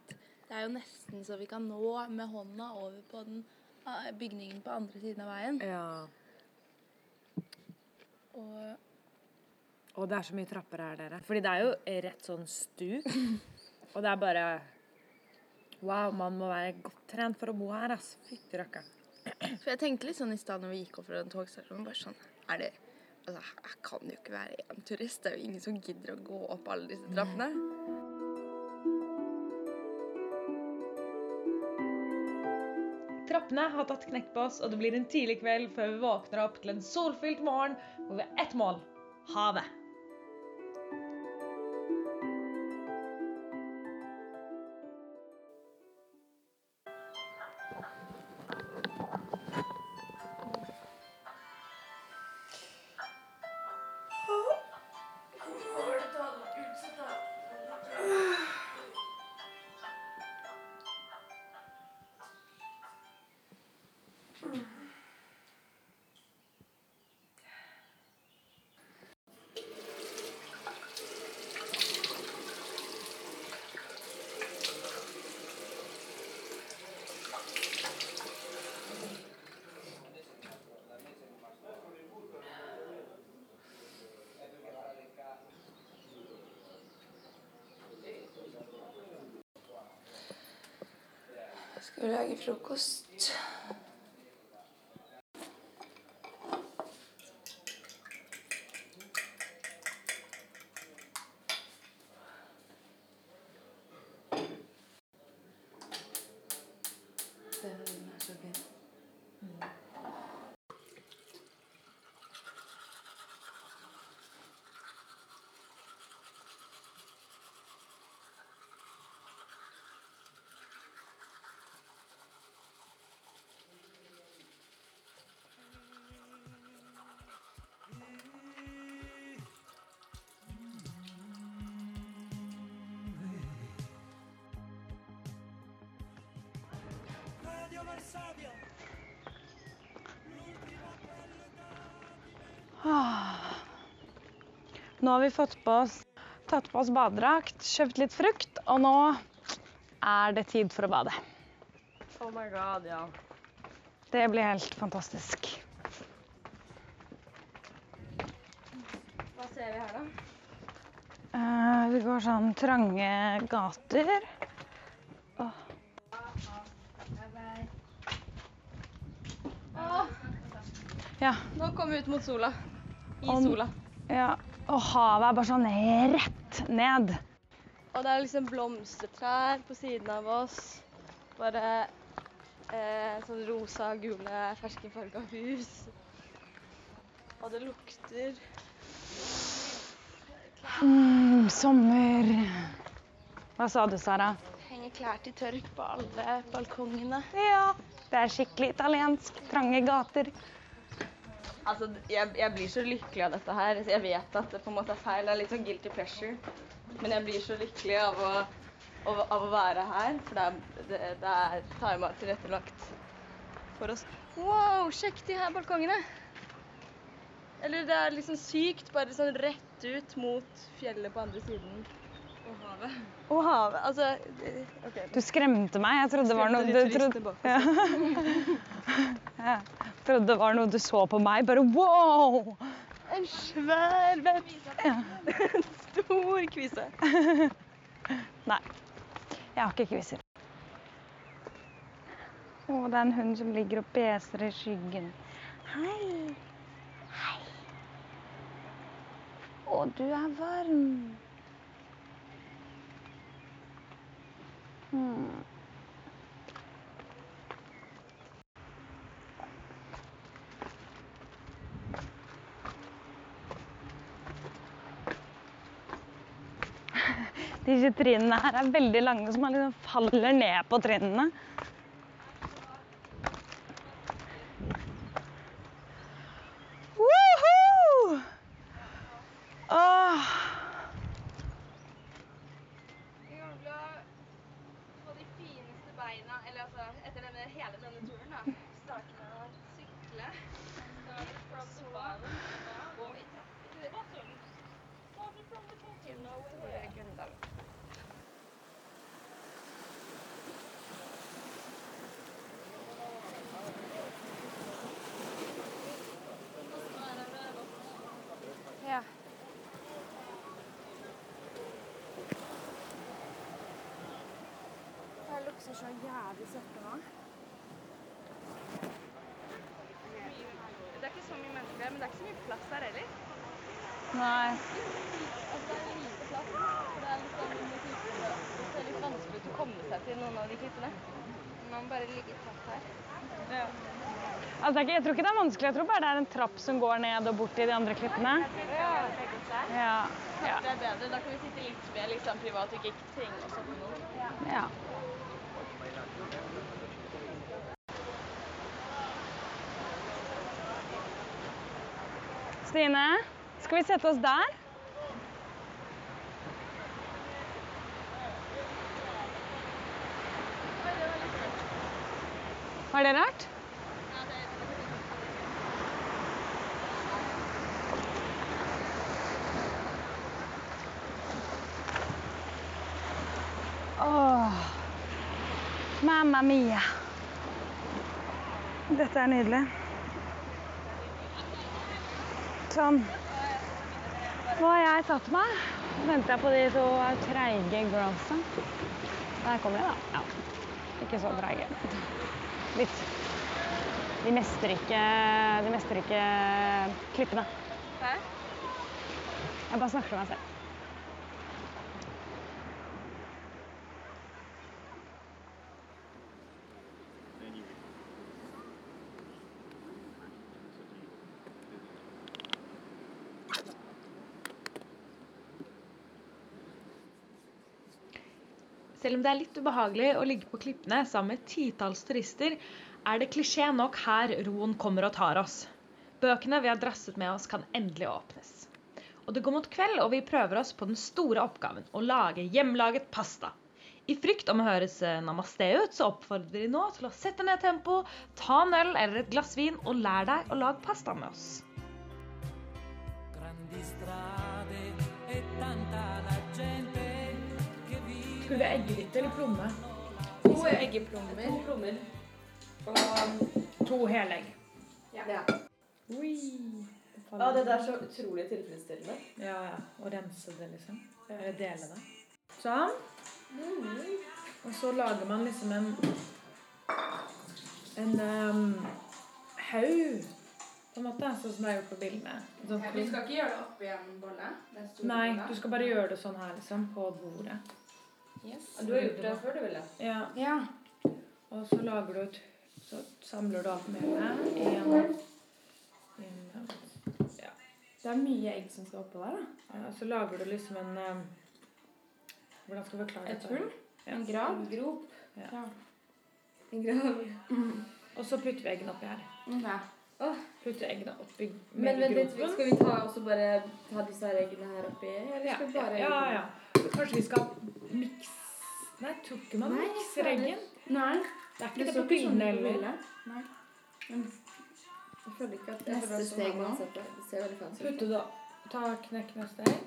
[SPEAKER 1] det er jo nesten så vi kan nå med hånda over på den ah, bygningen på andre siden av veien.
[SPEAKER 4] Ja.
[SPEAKER 1] Og
[SPEAKER 4] Og det er så mye trapper her, dere. Fordi det er jo rett sånn stup. Og det er bare Wow, man må være godt trent for å bo her, ass. Fytti rakkeren.
[SPEAKER 1] For jeg tenkte litt sånn i stad når vi gikk opp fra den togstasjonen, bare sånn Er det Altså, her kan det jo ikke være én turist. Det er jo ingen som gidder å gå opp alle disse trappene.
[SPEAKER 3] Trappene har tatt knekk på oss, og det blir en tidlig kveld før vi våkner opp til en solfylt morgen hvor vi har ett mål havet.
[SPEAKER 1] Skal vi lage frokost?
[SPEAKER 3] Nå har vi fått på oss, tatt på oss badedrakt, kjøpt litt frukt, og nå er det tid for å bade.
[SPEAKER 2] Oh my god, ja.
[SPEAKER 3] Det blir helt fantastisk.
[SPEAKER 1] ser vi her, da?
[SPEAKER 8] Eh, vi går sånn trange gater. Åh. Ja.
[SPEAKER 1] Nå kom vi ut mot sola. I
[SPEAKER 8] Om-
[SPEAKER 1] sola.
[SPEAKER 8] ja. Og havet er bare sånn rett ned.
[SPEAKER 1] Og det er liksom blomstertrær på siden av oss. Bare eh, sånn rosa, gule, ferskenfarga hus. Og det lukter
[SPEAKER 8] Mm, sommer. Hva sa du, Sara?
[SPEAKER 1] Henger klær til tørk på alle balkongene.
[SPEAKER 8] Ja, det er skikkelig italiensk. Trange gater.
[SPEAKER 1] Altså, jeg, jeg blir så lykkelig av dette her. Jeg vet at det på en måte er feil. Det er litt sånn guilty pleasure. Men jeg blir så lykkelig av å, av, av å være her, for det er, det, det er tima tilrettelagt for oss. Wow, sjekk de her balkongene! Eller det er liksom sykt, bare sånn rett ut mot fjellet på andre siden. Og havet. Og havet. Altså det- OK.
[SPEAKER 8] Du skremte meg. Jeg trodde det var noe
[SPEAKER 1] Skremte
[SPEAKER 8] du
[SPEAKER 1] de turistene
[SPEAKER 8] trodde,
[SPEAKER 1] bak oss.
[SPEAKER 8] ja. Jeg trodde det var noe du så på meg. Bare wow!
[SPEAKER 1] En svær veps. En stor kvise.
[SPEAKER 8] Nei. Jeg har ikke kviser. Å, det er en hund som ligger og beser i skyggen. Hei. Hei. Å, du er varm. Hmm. Disse trinnene her er veldig lange, så man liksom faller ned på trinnene. Woohoo! Åh.
[SPEAKER 9] Jeg kommer til å få de fineste beina eller altså, etter denne, hele denne turen. da. Starte med å sykle. Så gå i trappen. Så går jeg Gundam. Det lukter så jævlig søtt nå. Det er ikke så mye mennesker her, men det er ikke så mye plass her heller.
[SPEAKER 8] Nei.
[SPEAKER 1] Det sånn, er litt vanskelig å komme seg til noen av de klippene.
[SPEAKER 9] Man bare ligger fast her.
[SPEAKER 8] Altså, det er ikke, jeg tror ikke det er vanskelig. Jeg tror bare det er en trapp som går ned og bort til de andre klippene. Ja. ja.
[SPEAKER 1] Det er bedre. Da kan vi sitte litt mer liksom, privat og ikke trenge å stoppe noen.
[SPEAKER 8] Ja. Stine, skal vi sette oss der? Var det rart? Åh, mamma mia. Dette er nydelig. Sånn. Nå har jeg satt meg. Venter jeg på de to treige girlsa. Der kommer de, da. Ja. Ikke så treige. Litt. De mestrer ikke, de mestrer ikke klippene. Jeg bare snakker til meg selv.
[SPEAKER 3] Selv om det er litt ubehagelig å ligge på klippene sammen med titalls turister, er det klisjé nok her roen kommer og tar oss. Bøkene vi har drasset med oss, kan endelig åpnes. Og det går mot kveld, og vi prøver oss på den store oppgaven å lage hjemmelaget pasta. I frykt om å høres eh, namaste ut, så oppfordrer de nå til å sette ned tempo, ta en øl eller et glass vin og lær deg å lage pasta med oss. Skulle vi ha eggehvite eller plomme? To eggeplommer. To plommer. Og to helegg. Ja.
[SPEAKER 2] Ja, det der er så utrolig tilfredsstillende.
[SPEAKER 4] Ja, ja. Og rense det, liksom. Eller dele det. Sånn.
[SPEAKER 2] Mm-hmm.
[SPEAKER 4] Og så lager man liksom en en ehm, haug, på en måte. Sånn som det er gjort på bildene. Sånn
[SPEAKER 3] Ja,
[SPEAKER 4] klump.
[SPEAKER 3] ikke gjøre det oppi en bolle? Den store
[SPEAKER 4] Nei,
[SPEAKER 3] bolla?
[SPEAKER 4] du skal bare gjøre det sånn her, liksom. På bordet.
[SPEAKER 2] Du har gjort det før, du, Ville.
[SPEAKER 4] Ja.
[SPEAKER 3] Ja.
[SPEAKER 4] Og så lager du et Så samler du alt melet i en- i en
[SPEAKER 2] Det er mye egg som skal oppå der. da.
[SPEAKER 4] ja, Så lager du liksom en ehm, Hvordan skal vi klare
[SPEAKER 2] Et hull? En grav? En grop?
[SPEAKER 4] Ja.
[SPEAKER 2] En grav.
[SPEAKER 4] Og så putter vi eggene oppi her.
[SPEAKER 2] Mm, Åh.
[SPEAKER 4] Putter eggene oppi
[SPEAKER 2] Men
[SPEAKER 4] med
[SPEAKER 2] vent litt,
[SPEAKER 4] gropen.
[SPEAKER 2] skal vi ta også bare ta disse her eggene her oppi? Eller
[SPEAKER 4] Ja,
[SPEAKER 2] skal vi
[SPEAKER 4] ja,
[SPEAKER 2] bare
[SPEAKER 4] ja, ja. Kanskje vi skal mikse Nei, tror ikke man
[SPEAKER 2] Nei,
[SPEAKER 4] mikser
[SPEAKER 2] fader.
[SPEAKER 4] eggen.
[SPEAKER 2] Nei.
[SPEAKER 4] Det er ikke
[SPEAKER 2] Det
[SPEAKER 4] det
[SPEAKER 2] så
[SPEAKER 4] på
[SPEAKER 2] ikke sånn
[SPEAKER 4] bildene
[SPEAKER 2] ut på
[SPEAKER 4] heller.
[SPEAKER 2] bildet. Jeg føler ikke at jeg
[SPEAKER 1] Neste
[SPEAKER 2] føler at sånn
[SPEAKER 1] steg
[SPEAKER 2] har man
[SPEAKER 1] nå.
[SPEAKER 2] sett Det Det ser veldig fancy ut.
[SPEAKER 4] Putte det opp. Ta knekk neste egg.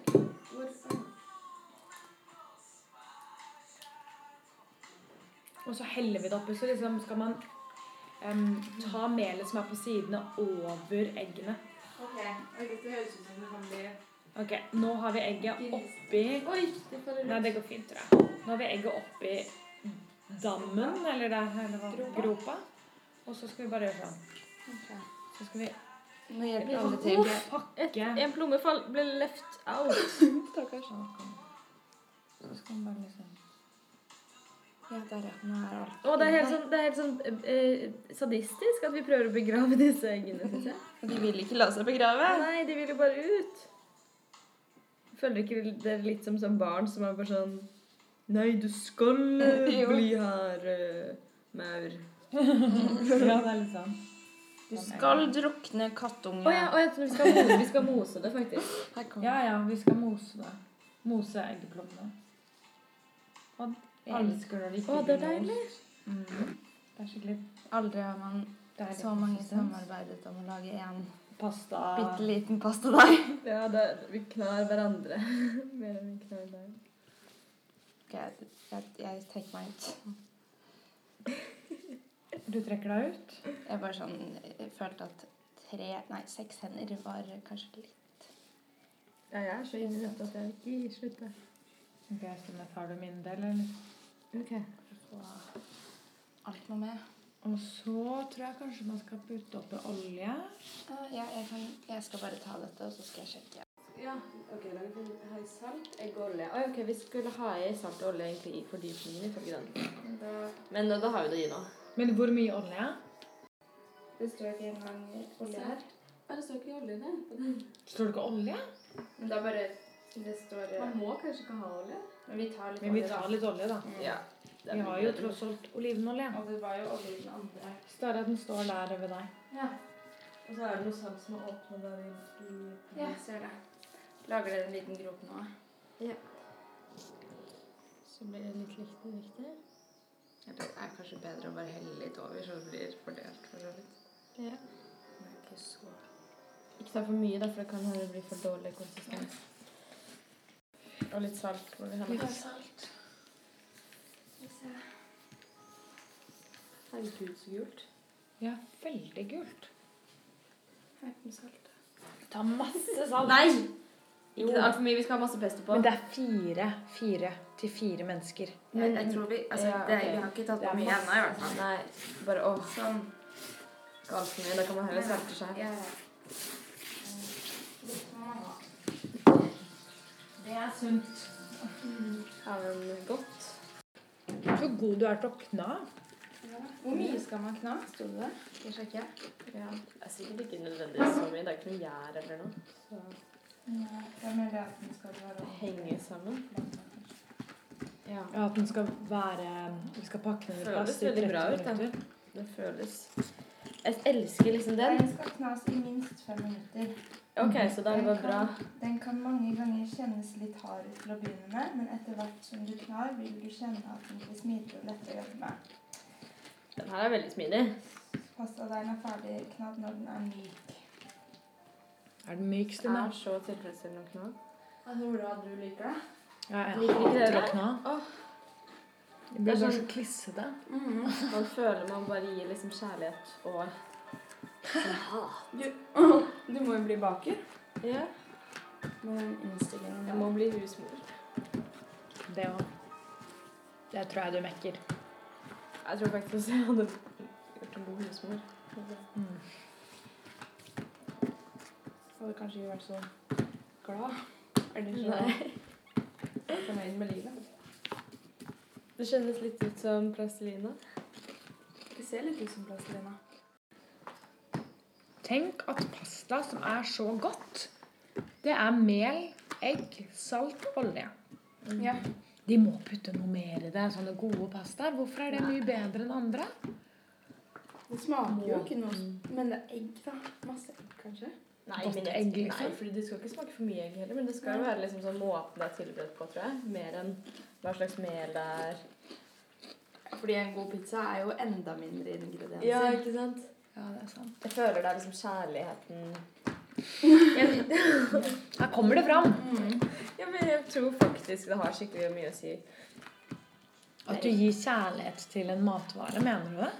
[SPEAKER 4] Og så heller vi det oppi. Så liksom skal man em, ta melet som er på sidene, over eggene.
[SPEAKER 3] Ok, og Det høres ut som det kan bli
[SPEAKER 4] Ok, nå har vi egget oppi
[SPEAKER 2] Oi, det faller
[SPEAKER 4] Nei,
[SPEAKER 2] ut.
[SPEAKER 4] det går fint, tror jeg. Nå har vi egget oppi dammen, eller, det, eller hva? Gropa. Og så skal vi bare gjøre sånn. Så skal vi
[SPEAKER 1] Nå hjelper alle til.
[SPEAKER 4] pakke
[SPEAKER 2] En plomme fall ble left out.
[SPEAKER 4] Stakkars.
[SPEAKER 1] Sånn,
[SPEAKER 4] Så skal man bare liksom
[SPEAKER 1] Ja, der, ja. Nå er alt
[SPEAKER 2] Og det er helt sånn, det er helt sånn eh, sadistisk at vi prøver å begrave disse eggene, syns jeg.
[SPEAKER 1] Og de vil ikke la seg begrave.
[SPEAKER 2] Nei, de vil jo bare ut. Føler ikke dere litt som sånn barn som er bare sånn Nei, du skal eh,
[SPEAKER 1] Jo.
[SPEAKER 2] bli her, eh, maur.
[SPEAKER 4] Ja, det er litt sånn.
[SPEAKER 1] Du skal drukne kattunge.
[SPEAKER 2] Å ja, å, jeg tror vi skal, mose, vi skal mose det, faktisk.
[SPEAKER 1] Her kommer
[SPEAKER 4] Ja, ja, vi skal mose det. Mose eggeplommene. Og elsker når de ikke
[SPEAKER 2] Å, det er
[SPEAKER 4] blir most. Mm. Det er skikkelig
[SPEAKER 1] Aldri har man
[SPEAKER 4] deilig.
[SPEAKER 1] så mange
[SPEAKER 4] konsistens.
[SPEAKER 1] samarbeidet om å lage én
[SPEAKER 4] Pasta.
[SPEAKER 1] bitte liten pastadeig.
[SPEAKER 2] Ja, det, vi knar hverandre. Mer enn vi knar deg.
[SPEAKER 1] Ok, jeg, jeg, jeg trekker meg ut.
[SPEAKER 4] Du trekker deg ut.
[SPEAKER 1] Jeg bare sånn jeg følte at tre, nei, seks hender var kanskje litt
[SPEAKER 2] Ja, jeg er så inni dette at jeg ikke gir slutt. jeg.
[SPEAKER 4] Ok, Stine, tar du min del, eller?
[SPEAKER 1] Alt må med.
[SPEAKER 4] Og så tror jeg kanskje man skal putte oppi olje.
[SPEAKER 1] Ja, jeg, kan, jeg skal bare ta dette, og så skal jeg sjekke.
[SPEAKER 2] Ja, ok, lag en hei salt, egg og olje. Oi, ok, vi skulle ha i salt og olje egentlig i fordypningen, ifølge den. Men eh, da har vi det i nå.
[SPEAKER 4] Men hvor mye olje?
[SPEAKER 1] Det står ikke engang olje her.
[SPEAKER 2] Ja, det står ikke olje i det.
[SPEAKER 4] Står det ikke olje?
[SPEAKER 1] Men det er bare Det står eh,
[SPEAKER 2] må kanskje ikke ha olje?
[SPEAKER 1] Men vi tar litt
[SPEAKER 4] Men vi
[SPEAKER 1] olje, da.
[SPEAKER 4] tar litt olje, da.
[SPEAKER 2] Ja.
[SPEAKER 4] Vi har jo tross alt olivenolje.
[SPEAKER 2] Og det var jo olje i den andre.
[SPEAKER 4] Stare at den står der ved deg.
[SPEAKER 2] Og så er det noe salt som er åpnet der i... i-
[SPEAKER 1] Ja, ser det. Lager dere en liten grop nå?
[SPEAKER 2] Ja.
[SPEAKER 1] Så blir det litt likt og riktig. Eller det er kanskje bedre å bare helle litt over, så det blir fordelt for så vidt.
[SPEAKER 2] Ja.
[SPEAKER 1] Det er ikke så
[SPEAKER 2] Ikke ta for mye, da, for det kan hende det blir for dårlig konsistens. Og litt salt. må vi ha med.
[SPEAKER 1] salt.
[SPEAKER 2] Herregud, så gult.
[SPEAKER 4] Ja, veldig gult.
[SPEAKER 1] Her kommer saltet.
[SPEAKER 4] Ta masse salt.
[SPEAKER 2] Nei!
[SPEAKER 4] Jo.
[SPEAKER 2] Ikke det er altfor mye. Vi skal ha masse pesto på.
[SPEAKER 4] Men det er fire, fire til fire mennesker.
[SPEAKER 1] Men jeg tror vi Altså,
[SPEAKER 2] Ja,
[SPEAKER 1] det,
[SPEAKER 2] ok.
[SPEAKER 1] vi har ikke tatt
[SPEAKER 4] Det
[SPEAKER 1] på
[SPEAKER 4] er
[SPEAKER 1] mye
[SPEAKER 4] masse.
[SPEAKER 1] ennå, i hvert fall.
[SPEAKER 2] Nei, bare åh,
[SPEAKER 1] Sånn.
[SPEAKER 2] galten min. Da kan man heller salte seg.
[SPEAKER 1] Ja, ja.
[SPEAKER 2] Ja, men godt.
[SPEAKER 4] Så god du er til å kna.
[SPEAKER 1] Hvor mye skal man kna? Sto det der? Skal jeg sjekke?
[SPEAKER 2] Ja. Det er sikkert ikke nødvendigvis så mye. Det er ikke noe gjær eller noe. Så det henger sammen. Ja.
[SPEAKER 4] Ja, at den skal være Vi skal pakke den i
[SPEAKER 2] Føles
[SPEAKER 4] plast i
[SPEAKER 2] veldig bra
[SPEAKER 4] 30
[SPEAKER 2] ut, da.
[SPEAKER 4] minutter.
[SPEAKER 2] Det føles Jeg elsker liksom den.
[SPEAKER 1] skal knas i minst fem minutter.
[SPEAKER 2] OK, så da er det bare bra.
[SPEAKER 1] Den kan mange ganger kjennes litt hard ut til å begynne med, men etter hvert som du knar, vil du kjenne at den blir smidig og lett å jobbe med.
[SPEAKER 2] Den her er veldig smidig.
[SPEAKER 1] Pastadeigen er ferdig knadd når den er myk.
[SPEAKER 4] Er den myk,
[SPEAKER 2] Den
[SPEAKER 4] Stine?
[SPEAKER 2] er så tilfredsstillende å kna.
[SPEAKER 1] Hvordan du liker det?
[SPEAKER 4] Ja, jeg
[SPEAKER 2] Liker ikke
[SPEAKER 4] hater
[SPEAKER 2] dere
[SPEAKER 4] å
[SPEAKER 2] det?
[SPEAKER 4] kna.
[SPEAKER 2] Åh.
[SPEAKER 4] Det blir
[SPEAKER 2] Det er
[SPEAKER 4] bare så
[SPEAKER 2] sånn-
[SPEAKER 4] klissete.
[SPEAKER 1] Mm-hmm.
[SPEAKER 2] Man føler man bare gir liksom kjærlighet og
[SPEAKER 1] Du må jo bli baker.
[SPEAKER 2] Ja.
[SPEAKER 1] Med den innstillingen
[SPEAKER 2] Jeg må bli husmor.
[SPEAKER 4] Det òg. Det tror jeg du mekker.
[SPEAKER 2] Jeg tror faktisk også jeg hadde gjort en god husmor.
[SPEAKER 1] hadde kanskje ikke vært så glad. Eller så
[SPEAKER 2] Nei.
[SPEAKER 1] fornøyd med livet.
[SPEAKER 2] Det kjennes litt ut som plastelina.
[SPEAKER 1] Det ser litt ut som plastelina.
[SPEAKER 4] Tenk at pasta, som er så godt, det er mel, egg, salt, olje.
[SPEAKER 1] Ja.
[SPEAKER 4] De må putte noe mer i det. Sånne gode pastaer. Hvorfor er det mye bedre enn andre?
[SPEAKER 1] Det smaker jo ikke noe Men det er egg, da. Masse egg, kanskje.
[SPEAKER 2] Nei,
[SPEAKER 4] Godt
[SPEAKER 2] men jeg-
[SPEAKER 4] egg, liksom.
[SPEAKER 2] Nei, fordi det skal ikke smake for mye egg heller, men det skal jo være liksom sånn måten det er tilberedt på, tror jeg. Mer enn hva slags mel det er.
[SPEAKER 1] Fordi en god pizza er jo enda mindre ingredienser.
[SPEAKER 2] Ja, ikke sant?
[SPEAKER 4] Ja, det er sant.
[SPEAKER 2] Jeg føler det er liksom kjærligheten
[SPEAKER 4] Her kommer det fram
[SPEAKER 2] Ja, men jeg tror faktisk det har skikkelig mye å si.
[SPEAKER 4] at du gir kjærlighet til en matvare. Mener du det?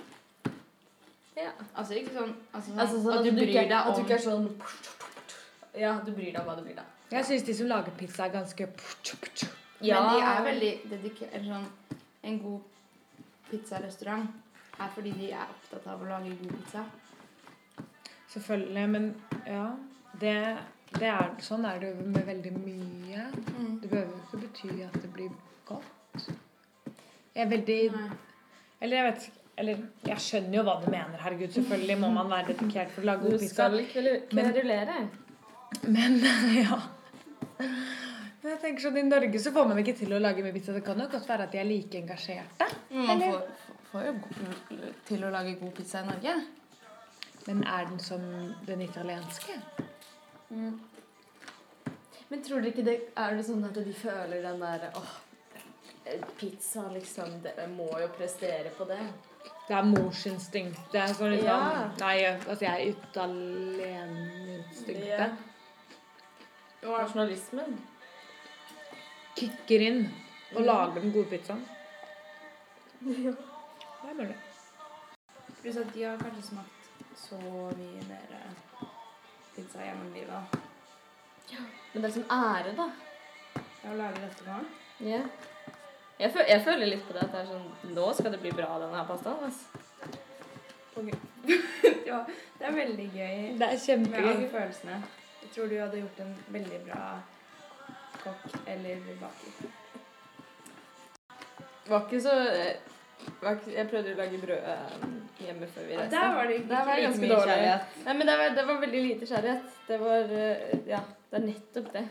[SPEAKER 1] Altså ikke sånn, altså, sånn,
[SPEAKER 2] Altså sånn
[SPEAKER 1] at du bryr
[SPEAKER 2] ikke,
[SPEAKER 1] deg
[SPEAKER 2] At du
[SPEAKER 1] om
[SPEAKER 2] ikke er sånn Ja, du bryr deg om hva du bryr deg om.
[SPEAKER 4] Jeg syns de som lager pizza, er ganske
[SPEAKER 2] Ja.
[SPEAKER 1] Men de er veldig dedikert eller sånn, En god pizzarestaurant er fordi de er opptatt av å lage god pizza.
[SPEAKER 4] Selvfølgelig, men ja. Det, det er, sånn er det jo med veldig mye. Det behøver jo ikke bety at det blir godt. Jeg er veldig
[SPEAKER 1] Nei.
[SPEAKER 4] Eller jeg vet ikke eller, jeg skjønner jo hva du mener. herregud, Selvfølgelig må man være dedikert for å lage
[SPEAKER 2] Du
[SPEAKER 4] god pizza.
[SPEAKER 2] skal kverulere.
[SPEAKER 4] Men ja. Men jeg tenker sånn, I Norge så får man ikke til å lage mye pizza. Det kan jo godt være at de er like engasjerte.
[SPEAKER 1] Mm, Man
[SPEAKER 4] Eller-
[SPEAKER 1] får, får jo go- til å lage god pizza i Norge.
[SPEAKER 4] Men er den som den italienske?
[SPEAKER 2] Men tror dere ikke det Er det sånn at de føler den derre åh, pizza, liksom Dere må jo prestere på det.
[SPEAKER 4] Det er morsinstinktet. Det er sånn litt sånn,
[SPEAKER 2] Ja.
[SPEAKER 4] Nei, altså jeg er italieninstinktet.
[SPEAKER 2] Ja. Og nasjonalismen.
[SPEAKER 4] Kicker inn og lager den gode pizzaen. Det er mulig.
[SPEAKER 1] Pluss at de har kanskje smakt så mye mer pizza gjennom livet. da.
[SPEAKER 2] Men det er sånn ære, da.
[SPEAKER 1] Jeg vil lage dette nå.
[SPEAKER 2] Ja. Jeg, føl jeg føler litt på det at det er sånn Nå skal det bli bra, denne her pastaen. ass.
[SPEAKER 1] Ja, det er veldig
[SPEAKER 4] Det er
[SPEAKER 1] gøy med alle
[SPEAKER 4] kjempegøy.
[SPEAKER 1] følelsene. Jeg tror du hadde gjort en veldig bra kokk eller baker.
[SPEAKER 2] var ikke så eh, var ikke, Jeg prøvde å lage brød eh, hjemme før vi
[SPEAKER 1] Ja,
[SPEAKER 2] reiste.
[SPEAKER 1] der var det ikke
[SPEAKER 2] Der var det
[SPEAKER 1] like
[SPEAKER 2] ganske
[SPEAKER 1] mye
[SPEAKER 2] dårlig.
[SPEAKER 1] kjærlighet.
[SPEAKER 2] Nei, men det var, det var veldig lite kjærlighet. Det var eh, Ja, det er nettopp det.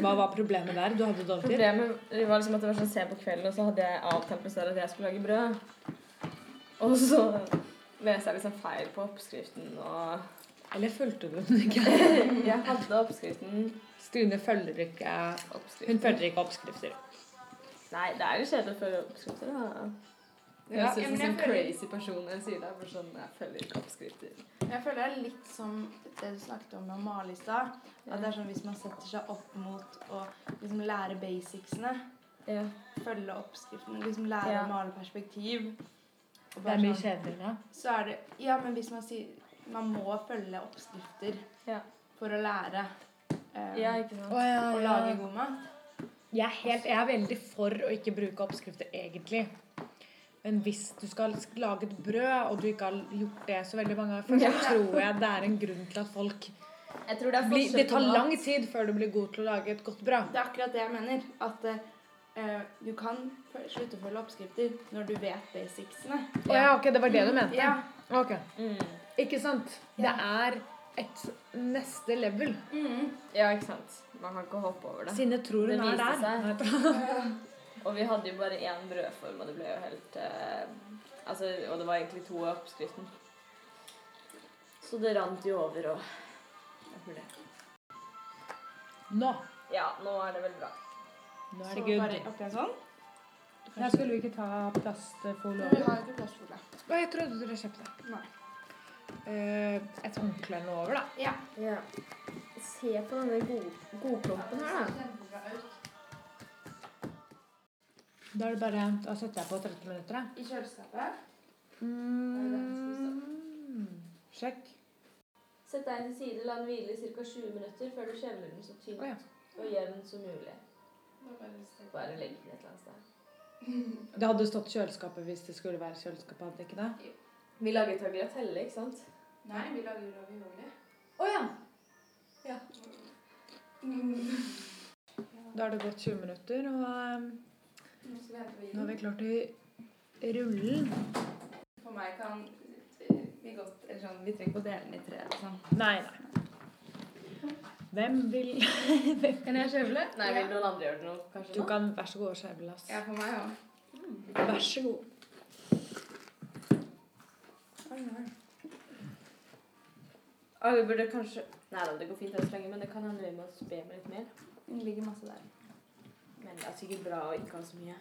[SPEAKER 4] Hva var problemet der? Du hadde dårlig tid?
[SPEAKER 2] Problemet var liksom at det var sånn sent på kvelden, og så hadde jeg avtalt med Sara at jeg skulle lage brød. Og så leste jeg liksom feil på oppskriften, og
[SPEAKER 4] Eller fulgte du den ikke?
[SPEAKER 2] Jeg hadde oppskriften.
[SPEAKER 4] Stune følger ikke Hun
[SPEAKER 2] oppskriften.
[SPEAKER 4] følger ikke oppskrifter.
[SPEAKER 2] Nei, det er jo kjedelig å følge oppskrifter, da. Det
[SPEAKER 1] Ja,
[SPEAKER 2] høres ut
[SPEAKER 1] ja,
[SPEAKER 2] som
[SPEAKER 1] men jeg
[SPEAKER 2] en
[SPEAKER 1] føler-
[SPEAKER 2] liksom crazy person når jeg sier det. For sånn, jeg følger ikke oppskrifter.
[SPEAKER 1] Jeg føler det er litt som det du snakket om med Mali i stad. At det er sånn hvis man setter seg opp mot å liksom lære basicsene,
[SPEAKER 2] Ja.
[SPEAKER 1] følge oppskriften, liksom lære
[SPEAKER 2] Ja.
[SPEAKER 1] å male perspektiv og
[SPEAKER 4] Det
[SPEAKER 1] bare
[SPEAKER 4] er mye
[SPEAKER 1] sånn,
[SPEAKER 4] kjedeligere.
[SPEAKER 1] Så er det Ja, men hvis man sier Man må følge oppskrifter
[SPEAKER 2] Ja.
[SPEAKER 1] for å lære eh,
[SPEAKER 2] ja, ikke sant.
[SPEAKER 1] å lage god mat.
[SPEAKER 4] Jeg er, helt, jeg er veldig for å ikke bruke oppskrifter, egentlig. Men hvis du skal sk- lage et brød, og du ikke har gjort det så veldig mange ganger før, så tror jeg det er en grunn til at folk
[SPEAKER 2] Jeg tror det er
[SPEAKER 4] blir, Det
[SPEAKER 2] forskjell på
[SPEAKER 4] tar
[SPEAKER 2] mat.
[SPEAKER 4] lang tid før du blir god til å lage et godt brød.
[SPEAKER 1] Det er akkurat det jeg mener. At eh, eh, du kan f- slutte å følge oppskrifter når du vet basicsene.
[SPEAKER 4] Å ja, ok, det var det du mente?
[SPEAKER 1] Ja.
[SPEAKER 4] Ok.
[SPEAKER 2] Mm.
[SPEAKER 4] Ikke sant? Det er et neste level.
[SPEAKER 2] Ja, ikke sant. Man kan ikke hoppe over det.
[SPEAKER 4] Sinne tror
[SPEAKER 2] Det
[SPEAKER 4] hun er
[SPEAKER 2] viste
[SPEAKER 4] der.
[SPEAKER 2] Og vi hadde jo bare én brødform, og det ble jo helt eh, Altså, Og det var egentlig to i oppskriften. Så det rant jo over, og det var det.
[SPEAKER 4] Nå.
[SPEAKER 2] Ja, nå er det veldig bra.
[SPEAKER 4] Nå er
[SPEAKER 1] Så
[SPEAKER 4] det
[SPEAKER 1] bare
[SPEAKER 4] good.
[SPEAKER 1] oppi en sånn.
[SPEAKER 4] Jeg skulle vi ikke ta plastfolie
[SPEAKER 1] Vi har ikke plass for det.
[SPEAKER 4] Å, Jeg trodde dere kjøpte
[SPEAKER 1] Nei.
[SPEAKER 4] Eh, et håndkle eller noe over, da.
[SPEAKER 2] Ja. Se på denne god, godklumpen her, da.
[SPEAKER 4] Da er det bare Da setter jeg på 30 minutter, jeg.
[SPEAKER 1] I
[SPEAKER 2] Mm.
[SPEAKER 1] kjøleskapet.
[SPEAKER 4] Mm. Sjekk.
[SPEAKER 10] Sett deigen til side, la den hvile i ca. 20 minutter før du skjevler den så tynt
[SPEAKER 3] Å, ja.
[SPEAKER 10] og jevn som mulig. Bare legg den et eller annet sted.
[SPEAKER 3] Det hadde stått kjøleskapet hvis det skulle være kjøleskapet, hadde det ikke det?
[SPEAKER 2] Vi lager tagliatelle, ikke sant?
[SPEAKER 11] Nei, vi lager ravioli.
[SPEAKER 2] Å ja!
[SPEAKER 3] Da har det gått 20 minutter, og ehm,
[SPEAKER 1] Nå skal vi hente
[SPEAKER 3] nå
[SPEAKER 1] vinen.
[SPEAKER 3] er vi klart til rullen.
[SPEAKER 1] For meg kan eh, vi godt eller sånn, Vi trenger ikke å dele den i tre. Sånn.
[SPEAKER 3] Nei, nei. Hvem vil
[SPEAKER 1] Kan jeg skjevle?
[SPEAKER 2] Nei, vil noen andre gjøre det nå? Kanskje
[SPEAKER 3] Du
[SPEAKER 2] nå?
[SPEAKER 3] kan vær så god og skjevle, ass.
[SPEAKER 1] Ja, for meg òg.
[SPEAKER 3] Vær så god.
[SPEAKER 2] Ah, vi burde kanskje Nei da, det går fint enn så lenge, men det kan hende vi må spe med litt mer.
[SPEAKER 1] Det ligger masse der.
[SPEAKER 2] Men det er sikkert bra å ikke ha så mye.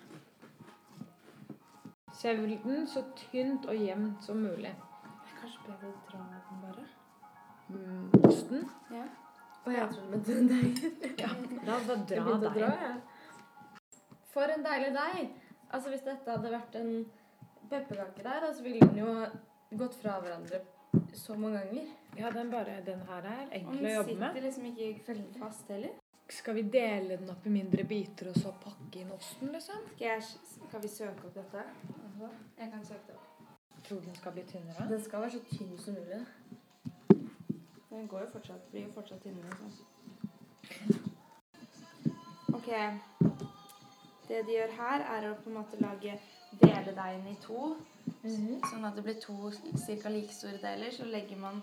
[SPEAKER 3] Skjevl den så tynt og jevnt som mulig.
[SPEAKER 1] Kanskje prøve å dra den bare?
[SPEAKER 3] Mm, Osten.
[SPEAKER 2] Å, jeg trodde du mente en deig.
[SPEAKER 3] La oss bare
[SPEAKER 2] Jeg
[SPEAKER 3] dra
[SPEAKER 2] begynte å dra,
[SPEAKER 3] deg.
[SPEAKER 2] jeg. For en deilig deig! Altså, hvis dette hadde vært en pepperkake der, da, så ville den jo gått fra hverandre så mange ganger.
[SPEAKER 3] Ja, den bare Den her er enkel å jobbe med.
[SPEAKER 1] liksom ikke veldig fast heller.
[SPEAKER 3] Skal vi dele den opp i mindre biter og så pakke inn osten, liksom?
[SPEAKER 1] Skal, jeg, skal vi søke opp dette? Jeg kan søke det opp.
[SPEAKER 3] Tror du den skal bli tynnere?
[SPEAKER 2] Den skal være så tynn som mulig.
[SPEAKER 1] Den går jo fortsatt, blir jo fortsatt tynnere. Sånn. OK. Det de gjør her, er å på en måte lage dele deigen i to.
[SPEAKER 2] Mhm.
[SPEAKER 1] Sånn at det blir to ca. like store deler. Så legger man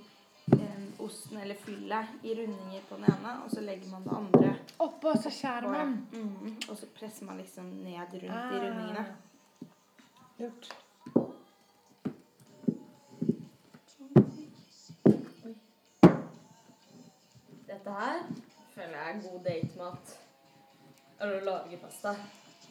[SPEAKER 1] eh, osten eller fyllet i rundinger på den ene, og så legger man det andre.
[SPEAKER 3] Oppå, så skjærer
[SPEAKER 1] på det.
[SPEAKER 3] man.
[SPEAKER 1] Mhm. Og så presser man liksom ned rundt
[SPEAKER 2] Ah.
[SPEAKER 1] i rundingene.
[SPEAKER 3] Gjort.
[SPEAKER 2] Dette her føler jeg er god datemat. Eller å lage pasta.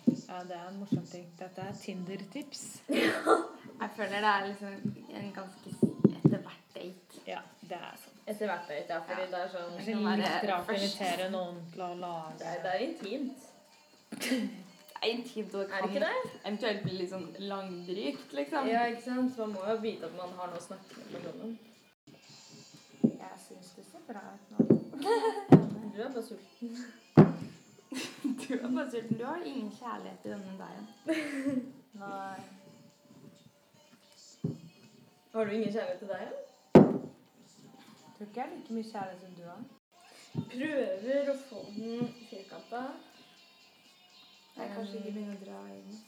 [SPEAKER 3] Ja, det er en morsom ting. Dette er Tinder-tips.
[SPEAKER 1] Jeg føler det er liksom en ganske etter hvert date.
[SPEAKER 3] Ja, det er sant.
[SPEAKER 2] Etter hvert date, ja. Fordi det er sånn
[SPEAKER 3] Det
[SPEAKER 1] kan
[SPEAKER 3] er litt
[SPEAKER 1] være
[SPEAKER 3] rart å
[SPEAKER 1] først.
[SPEAKER 3] invitere noen til å
[SPEAKER 2] Det er,
[SPEAKER 3] lage
[SPEAKER 2] det er intimt.
[SPEAKER 1] Det er intimt og
[SPEAKER 2] Er
[SPEAKER 1] kan
[SPEAKER 2] det ikke det?
[SPEAKER 1] eventuelt bli litt sånn langdrygt, liksom.
[SPEAKER 2] Ja, ikke sant? Man må jo vite at man har noe å snakke med personen.
[SPEAKER 1] Jeg syns det ser bra ut nå.
[SPEAKER 2] Du er bare sulten.
[SPEAKER 1] Du er bare sulten. Du har ingen kjærlighet i denne deigen.
[SPEAKER 2] Har du ingen kjærlighet til deg? eller?
[SPEAKER 3] Tror ikke jeg er like mye kjærlighet som du har.
[SPEAKER 2] Prøver å få den firkanta.
[SPEAKER 1] Jeg kan kanskje ikke begynner å dra i den.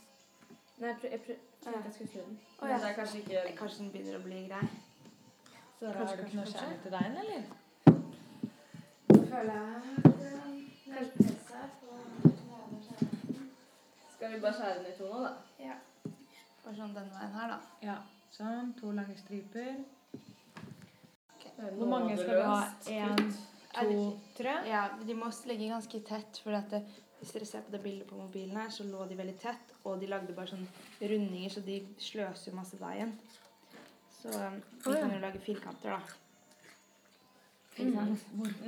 [SPEAKER 2] Nei, jeg prø- jeg prø- tenkte jeg skulle snu den.
[SPEAKER 1] Å,
[SPEAKER 2] Men
[SPEAKER 1] ja.
[SPEAKER 2] det er kanskje ikke
[SPEAKER 1] Kanskje den begynner å bli grei.
[SPEAKER 2] så
[SPEAKER 3] Har du ikke noe kjærlighet til deg, eller?
[SPEAKER 2] Skal vi bare skjære den i to nå, da?
[SPEAKER 1] Bare sånn denne veien her, da.
[SPEAKER 3] Ja. Sånn. To lange striper.
[SPEAKER 2] Hvor
[SPEAKER 3] Hvor mange skal vi ha? Én,
[SPEAKER 1] Er
[SPEAKER 3] to, tre?
[SPEAKER 1] Ja, De må ligge ganske tett. For at det, hvis dere ser på det bildet på mobilen her, så lå de veldig tett. Og de lagde bare sånne rundinger, så de sløser jo masse deigen. Så um, vi kan jo lage firkanter, da.
[SPEAKER 3] Mm.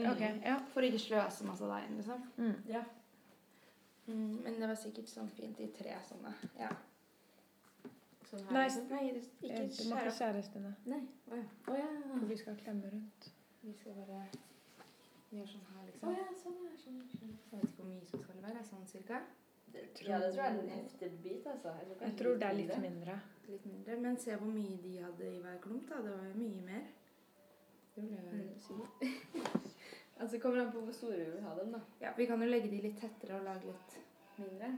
[SPEAKER 3] Ok, ja.
[SPEAKER 1] Mm. For å ikke sløse masse deig, liksom.
[SPEAKER 3] Mm,
[SPEAKER 2] ja.
[SPEAKER 1] Mm, men det var sikkert sånn fint i tre sånne. Ja.
[SPEAKER 2] Sånn her.
[SPEAKER 3] Nei,
[SPEAKER 2] liksom.
[SPEAKER 1] Nei, det, ikke
[SPEAKER 3] eh, du
[SPEAKER 1] skjær
[SPEAKER 3] må ikke
[SPEAKER 1] opp.
[SPEAKER 3] skjære Stine.
[SPEAKER 2] Nei. Å ja. Å ja.
[SPEAKER 3] For vi skal klemme rundt.
[SPEAKER 1] Vi skal bare gjøre sånn
[SPEAKER 2] Å
[SPEAKER 1] her, liksom.
[SPEAKER 2] ja, sånn ja. Sånn, sånn.
[SPEAKER 1] Jeg vet ikke hvor mye som skal være. Sånn cirka.
[SPEAKER 2] Ja, det tror jeg er en heftig bit, altså. tror
[SPEAKER 3] Jeg tror det er litt mindre.
[SPEAKER 1] Litt mindre. Men se hvor mye de hadde i hver klump, da. Det var jo mye mer.
[SPEAKER 2] Det blir jo sykt. altså, det kommer an på hvor store vi vil ha dem, da.
[SPEAKER 1] Ja, Vi kan jo legge de litt tettere og lage litt
[SPEAKER 2] Mindre.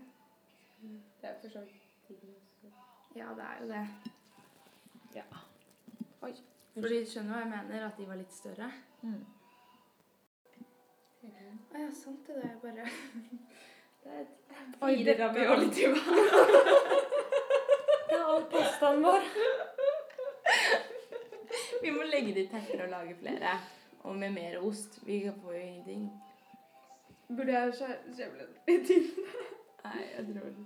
[SPEAKER 2] Det er for så vidt digg også.
[SPEAKER 1] Ja, det er jo det.
[SPEAKER 3] Ja.
[SPEAKER 1] Oi. For de skjønner hva jeg mener, at de var litt større.
[SPEAKER 3] Mm.
[SPEAKER 1] Å ja, sant det. Det er bare Det er et
[SPEAKER 3] Oi, det rammer jo litt i Det er all pastaen vår.
[SPEAKER 1] Vi må legge de tettere og lage flere. Og med mer ost. Vi får jo ingenting.
[SPEAKER 2] Burde jeg skjæ- skjævle den i til?
[SPEAKER 1] Nei, jeg tror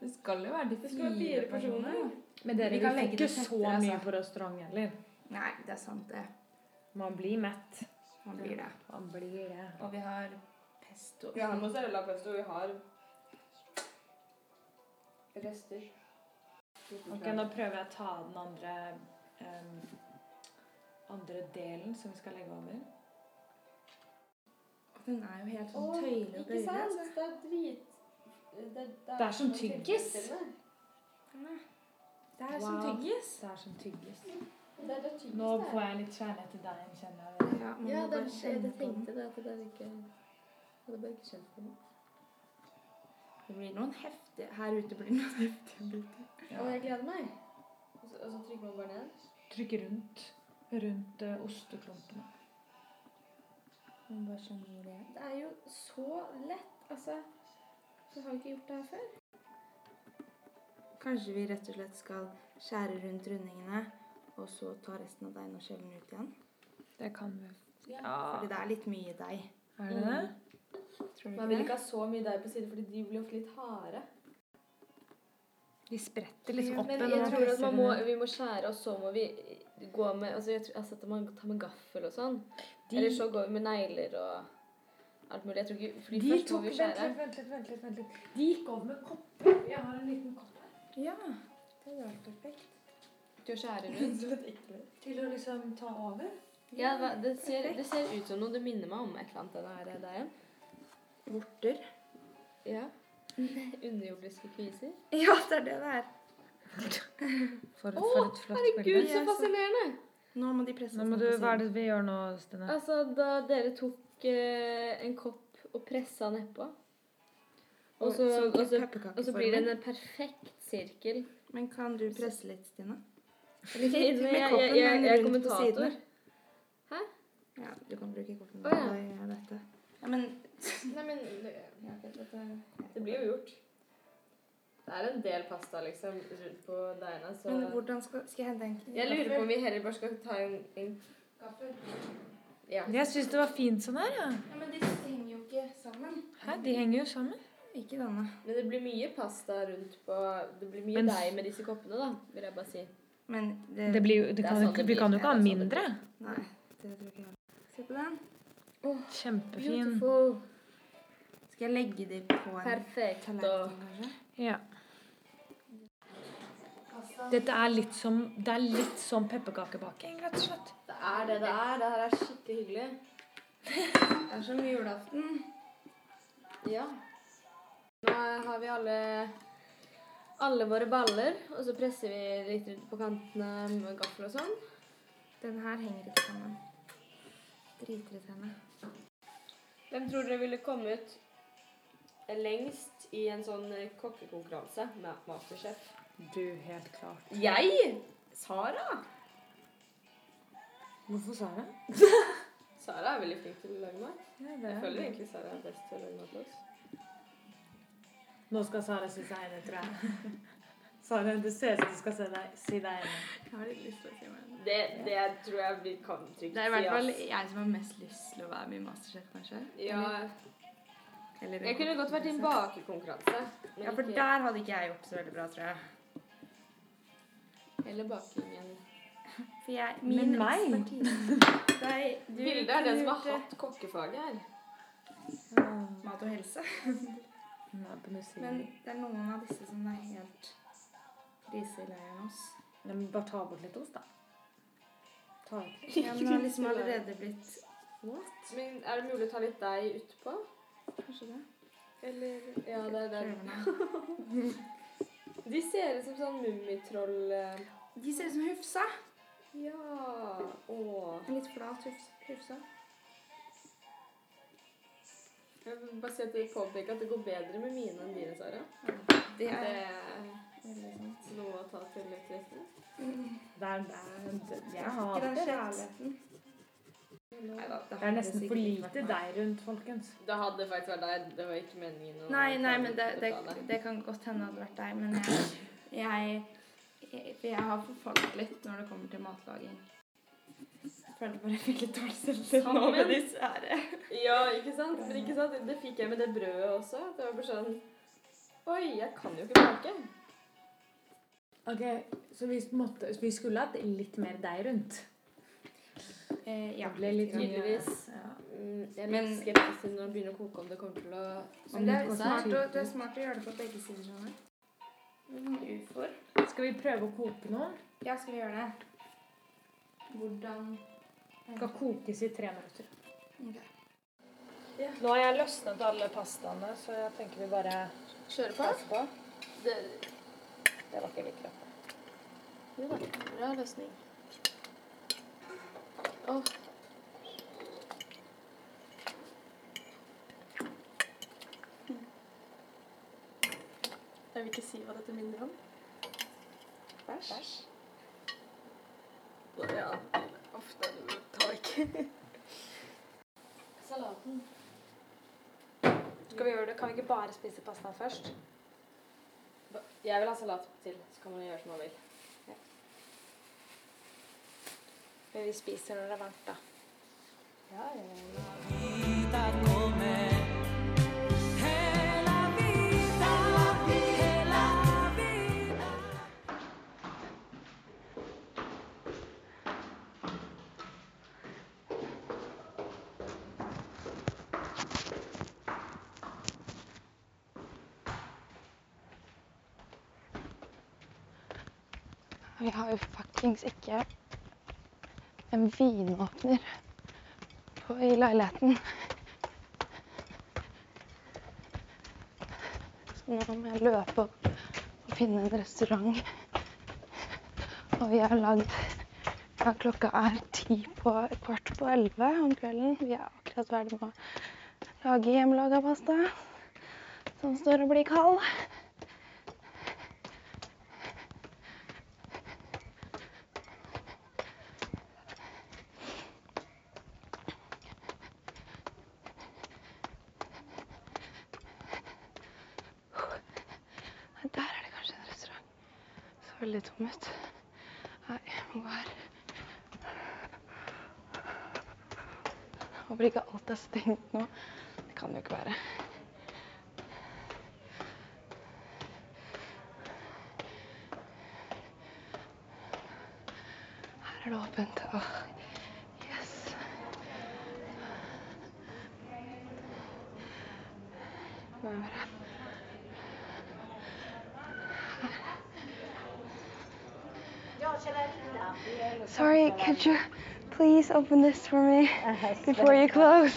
[SPEAKER 1] Det skal jo være de
[SPEAKER 2] Det skal være fire personer.
[SPEAKER 3] Men dere
[SPEAKER 1] Vi
[SPEAKER 3] vi
[SPEAKER 1] kan
[SPEAKER 3] får
[SPEAKER 1] legge det
[SPEAKER 3] ikke så
[SPEAKER 1] tettere, altså.
[SPEAKER 3] mye på restaurant heller.
[SPEAKER 1] Nei, det er sant, det.
[SPEAKER 3] Man blir mett.
[SPEAKER 1] Man blir det.
[SPEAKER 3] Man blir det.
[SPEAKER 1] Og vi har pesto.
[SPEAKER 2] Vi har mozzarella pesto, vi har rester.
[SPEAKER 3] Ok, nå prøver jeg å ta den andre em, andre delen som vi skal legge over.
[SPEAKER 1] Den er jo helt sånn tøyle og bøyle. altså.
[SPEAKER 4] Det er drit... Det,
[SPEAKER 3] Det er som tyggis.
[SPEAKER 1] Sånn, Det er som
[SPEAKER 3] Wow.
[SPEAKER 1] tyggis.
[SPEAKER 3] Det er som tyggis.
[SPEAKER 4] Det er det tyggis
[SPEAKER 3] Nå
[SPEAKER 4] det er.
[SPEAKER 3] får jeg litt kjærlighet til deg, kjenner jeg.
[SPEAKER 1] Ja, man
[SPEAKER 4] Ja,
[SPEAKER 1] må
[SPEAKER 4] det,
[SPEAKER 1] bare
[SPEAKER 4] jeg
[SPEAKER 1] kjenne på den.
[SPEAKER 4] tenkte det. At det er ikke Jeg hadde bare ikke kjent på det.
[SPEAKER 1] Det blir noen heftige Her ute blir det noen heftige biter.
[SPEAKER 4] Og jeg gleder meg. Og så, og så trykker man bare ned.
[SPEAKER 3] Trykk rundt. Rundt eh, osteklumpene.
[SPEAKER 1] Man bare skjønner hvor det er. Det er jo så lett, altså. Du har jo ikke gjort det her før. Kanskje vi rett og slett skal skjære rundt rundingene, og så ta resten av deigen og skjelle den ut igjen.
[SPEAKER 3] Det kan vi.
[SPEAKER 1] Fordi det er litt mye Mm. deig.
[SPEAKER 3] Er det det?
[SPEAKER 1] Tror du
[SPEAKER 2] Man
[SPEAKER 1] ikke
[SPEAKER 2] vil
[SPEAKER 1] det?
[SPEAKER 2] ikke ha så mye deig på siden, fordi de blir ofte litt harde.
[SPEAKER 3] De spretter liksom opp
[SPEAKER 2] Men
[SPEAKER 3] igjen,
[SPEAKER 2] jeg
[SPEAKER 3] og
[SPEAKER 2] tror at
[SPEAKER 3] presser
[SPEAKER 2] man må,
[SPEAKER 3] den ned.
[SPEAKER 2] vi må skjære, og så må vi gå med altså jeg tror, altså At man tar med gaffel og sånn.
[SPEAKER 3] De-
[SPEAKER 2] Eller så går vi med negler og alt mulig. Jeg tror ikke, fordi
[SPEAKER 3] De
[SPEAKER 2] først må
[SPEAKER 3] tok
[SPEAKER 2] vi
[SPEAKER 3] Vent litt,
[SPEAKER 2] skjære.
[SPEAKER 3] vent litt, vent litt. vent litt. De gikk over med kopper. Jeg har en liten kopp her.
[SPEAKER 1] Ja. Det hadde vært perfekt.
[SPEAKER 2] Til å skjære rundt.
[SPEAKER 3] Til å liksom ta over.
[SPEAKER 2] Ja, hva- det ser, det ser ut som noe. Det minner meg om et eller annet. denne her deigen.
[SPEAKER 1] Vorter.
[SPEAKER 2] Ja. Underjordiske kviser.
[SPEAKER 1] Ja, det er det det er.
[SPEAKER 3] For et, for et flott
[SPEAKER 2] Herregud,
[SPEAKER 1] Jeg
[SPEAKER 2] så
[SPEAKER 1] er så-
[SPEAKER 2] fascinerende!
[SPEAKER 1] Nå må de presses
[SPEAKER 3] Nå må
[SPEAKER 1] ned
[SPEAKER 3] du,
[SPEAKER 1] på siden.
[SPEAKER 3] hva er det vi gjør nå, Stine?
[SPEAKER 2] Altså, da dere tok eh, en kopp og pressa nedpå og så,
[SPEAKER 1] Som
[SPEAKER 2] og, så,
[SPEAKER 1] pepperkakeformen.
[SPEAKER 2] og så blir det en perfekt sirkel.
[SPEAKER 1] Men kan du presse litt, Stine?
[SPEAKER 2] Eller ikke,
[SPEAKER 1] Litt med
[SPEAKER 2] men jeg, jeg,
[SPEAKER 1] koppen,
[SPEAKER 2] jeg,
[SPEAKER 1] men
[SPEAKER 2] jeg er
[SPEAKER 1] rundt på
[SPEAKER 2] kommentator.
[SPEAKER 1] sidene. Ja, du kan bruke kortene.
[SPEAKER 2] Å, ja.
[SPEAKER 1] Jeg gjør dette. Ja, men
[SPEAKER 4] Nei, men
[SPEAKER 1] ja, ok, dette
[SPEAKER 4] Det blir jo gjort. Det er en del pasta liksom rundt på deigene, så
[SPEAKER 1] Men hvordan skal, skal jeg hente en
[SPEAKER 4] Jeg lurer på om vi heller bare skal ta en, en Ja.
[SPEAKER 3] Jeg syns det var fint sånn her. Ja.
[SPEAKER 1] Ja, men disse henger jo ikke sammen.
[SPEAKER 3] Hæ, de henger jo sammen.
[SPEAKER 1] Ikke denne.
[SPEAKER 4] Men det blir mye pasta rundt på Det blir mye
[SPEAKER 3] Men-
[SPEAKER 4] deig med disse koppene, da, vil jeg bare si.
[SPEAKER 1] Men det,
[SPEAKER 3] Det blir, jo- det
[SPEAKER 4] er
[SPEAKER 3] kan, jo
[SPEAKER 4] sånn
[SPEAKER 3] ikke-
[SPEAKER 4] det
[SPEAKER 3] vi
[SPEAKER 4] blir.
[SPEAKER 3] kan jo ikke ha
[SPEAKER 4] Det er sånn det
[SPEAKER 3] mindre.
[SPEAKER 1] Nei, det tror ikke jeg. Se på den.
[SPEAKER 3] Kjempefin.
[SPEAKER 1] Skal jeg legge dem på en
[SPEAKER 2] Perfekt.
[SPEAKER 1] tallerken, kanskje?
[SPEAKER 3] Ja. Dette er litt som, det er litt som pepperkakebaking, rett og slett.
[SPEAKER 4] Det er det det er. Det her er skikkelig hyggelig.
[SPEAKER 1] Det er som julaften.
[SPEAKER 4] Ja.
[SPEAKER 2] Nå har vi alle, alle våre baller, og så presser vi litt rundt på kantene med gaffel og sånn.
[SPEAKER 1] Den her henger ikke sammen. Dritirriterende.
[SPEAKER 2] Hvem tror dere ville kommet lengst i en sånn kokkekonkurranse med Masterchef?
[SPEAKER 3] Du, helt klart.
[SPEAKER 2] Jeg? Sara?
[SPEAKER 3] Hvorfor sa jeg det?
[SPEAKER 2] Sara er veldig flink til å lage mat.
[SPEAKER 3] Ja,
[SPEAKER 2] Jeg
[SPEAKER 3] det?
[SPEAKER 2] føler egentlig Sara er best til å lage mat til oss.
[SPEAKER 3] Nå skal Sara si seg enig, tror jeg. Sara, det ser ut som du skal se deg, si deg enig.
[SPEAKER 1] Jeg har litt lyst til å si meg
[SPEAKER 2] Det, det tror jeg vi kan trygt
[SPEAKER 1] Det er i hvert fall
[SPEAKER 2] ass.
[SPEAKER 1] jeg som har mest lyst til å være med i Masterchef, kanskje.
[SPEAKER 2] Ja,
[SPEAKER 1] Eller
[SPEAKER 2] jeg kunne godt vært i en bakekonkurranse. men
[SPEAKER 1] Ja, for
[SPEAKER 2] ikke-
[SPEAKER 1] der hadde ikke jeg gjort så veldig bra, tror jeg.
[SPEAKER 2] Eller bakingen.
[SPEAKER 1] For jeg,
[SPEAKER 3] Men
[SPEAKER 1] min
[SPEAKER 3] meg?
[SPEAKER 1] ekspertise Nei, du
[SPEAKER 2] Vilde er den som har
[SPEAKER 1] kunne gjort
[SPEAKER 2] hatt kokkefaget her.
[SPEAKER 1] det. Mat og helse.
[SPEAKER 3] Hun er på New
[SPEAKER 1] Men
[SPEAKER 3] Zealand.
[SPEAKER 1] det er noen av disse som er helt kriseleie av oss.
[SPEAKER 3] Nei, Men bare ta bort litt ost, da. Ta ut.
[SPEAKER 1] Ja, men har liksom allerede blitt What?
[SPEAKER 2] Men er det mulig å ta litt deig utpå?
[SPEAKER 1] Kanskje det.
[SPEAKER 2] Eller Ja, det er der.
[SPEAKER 1] Prøvene.
[SPEAKER 2] De ser ut som sånn mummitroll eh.
[SPEAKER 1] De ser ut som Hufsa.
[SPEAKER 2] Ja. Åh.
[SPEAKER 1] En litt flat hufs- Hufsa.
[SPEAKER 2] Jeg vil bare si at du påpeker at det går bedre med mine enn dine, Sara.
[SPEAKER 1] Det
[SPEAKER 2] Det
[SPEAKER 1] er
[SPEAKER 2] er
[SPEAKER 1] veldig sant.
[SPEAKER 2] noe å ta til etterretning.
[SPEAKER 3] Der, der. Jeg har
[SPEAKER 1] Ikke den
[SPEAKER 3] det rett.
[SPEAKER 1] kjærligheten. Neida,
[SPEAKER 3] Det er nesten
[SPEAKER 1] hadde
[SPEAKER 3] for
[SPEAKER 1] sikkert vært
[SPEAKER 3] lite
[SPEAKER 1] meg.
[SPEAKER 3] deig rundt, folkens.
[SPEAKER 2] Det hadde faktisk vært der. Det var ikke meningen. å
[SPEAKER 1] Nei, nei, men det, det,
[SPEAKER 2] ta det.
[SPEAKER 1] det kan godt hende hadde vært deg. Men jeg, jeg, jeg, for jeg har forfalt litt når det kommer til matlaging. Jeg føler bare jeg fikk litt dårlig selvtillit nå med disse her.
[SPEAKER 2] Ja, ikke sant? Men ikke sant? Det fikk jeg med det brødet også. Det var bare sånn Oi, jeg kan jo ikke bake.
[SPEAKER 3] Ok, Så vi, måtte, vi skulle hatt litt mer deig rundt.
[SPEAKER 1] Eh, ja,
[SPEAKER 3] Det ble litt mye.
[SPEAKER 2] Tydeligvis.
[SPEAKER 3] Ja.
[SPEAKER 2] Mm, Jeg er
[SPEAKER 1] Men-
[SPEAKER 2] litt skeptisk til når det begynner å koke, om det kommer til å
[SPEAKER 1] Men det er,
[SPEAKER 3] Om det
[SPEAKER 1] smart å,
[SPEAKER 3] går
[SPEAKER 1] det er smart å gjøre det på begge sider. skjønner du. Det er Noen ufoer.
[SPEAKER 3] Skal vi prøve å koke noe?
[SPEAKER 1] Ja, skal vi gjøre det? Hvordan
[SPEAKER 12] Skal kokes i tre minutter. Nå har jeg løsnet alle pastaene, så jeg tenker vi bare
[SPEAKER 13] Kjøre på?
[SPEAKER 12] passer på.
[SPEAKER 13] Det,
[SPEAKER 12] Det var ikke like lett.
[SPEAKER 13] jo da, bra løsning. Åh. Jeg vil ikke si hva dette minner om. Bæsj. Ja, uff, da du tar ikke.
[SPEAKER 14] Salaten.
[SPEAKER 12] Skal vi gjøre det? Kan vi ikke bare spise pastaen først?
[SPEAKER 14] Jeg vil ha salat til, så kan man gjøre som man vil.
[SPEAKER 12] Men vi spiser når det er varmt, da.
[SPEAKER 13] Vi har jo fuckings ikke en vinåpner på, i leiligheten. Så nå må jeg løpe opp og finne en restaurant. Og vi har lagd ja, Klokka er ti på kvart på elleve om kvelden. Vi er akkurat ferdig med å lage hjemmelaga pasta som står og blir kald. Nei, Der er det kanskje en restaurant. Det så veldig tom ut. Nei, jeg må gå her. Håper ikke alt er stengt nå. Det kan det jo ikke være. Her er det åpent. Åh, yes. Hvem er det? Sorry, could you please open this for me before you close?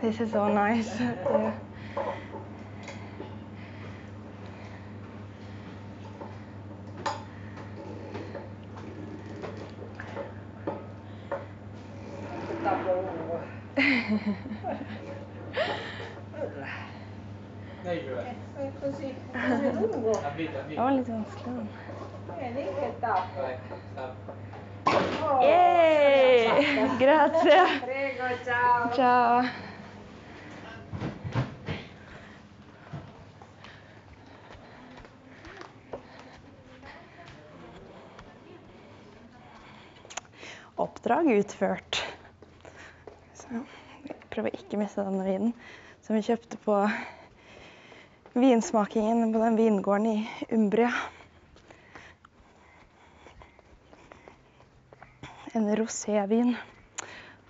[SPEAKER 13] This is so nice. Yeah. Det var litt vanskelig. da. Yay! Grazie. Prego, ciao. Ciao. Oppdrag utført. Så jeg prøver ikke å miste den vinen som vi kjøpte på vinsmakingen på den vingården i Umbria. en rosévin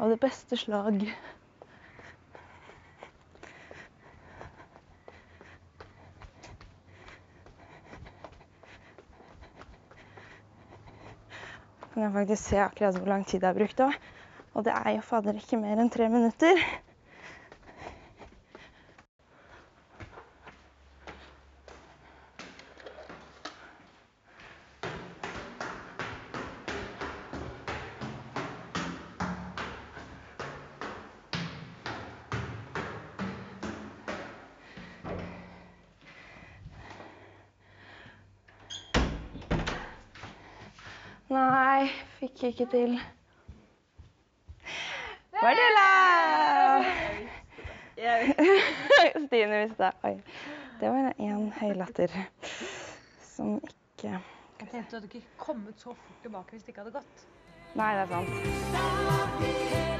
[SPEAKER 13] av det beste slag. Kan jeg faktisk se akkurat hvor lang tid jeg har brukt òg. Og det er jo fader ikke mer enn tre minutter. Nei, fikk jeg ikke til. Mardula! Stine visste det. Oi. Det var én høy latter som ikke
[SPEAKER 12] Jeg tenkte du hadde ikke kommet så fort tilbake hvis det ikke hadde gått.
[SPEAKER 13] Nei, det er sant.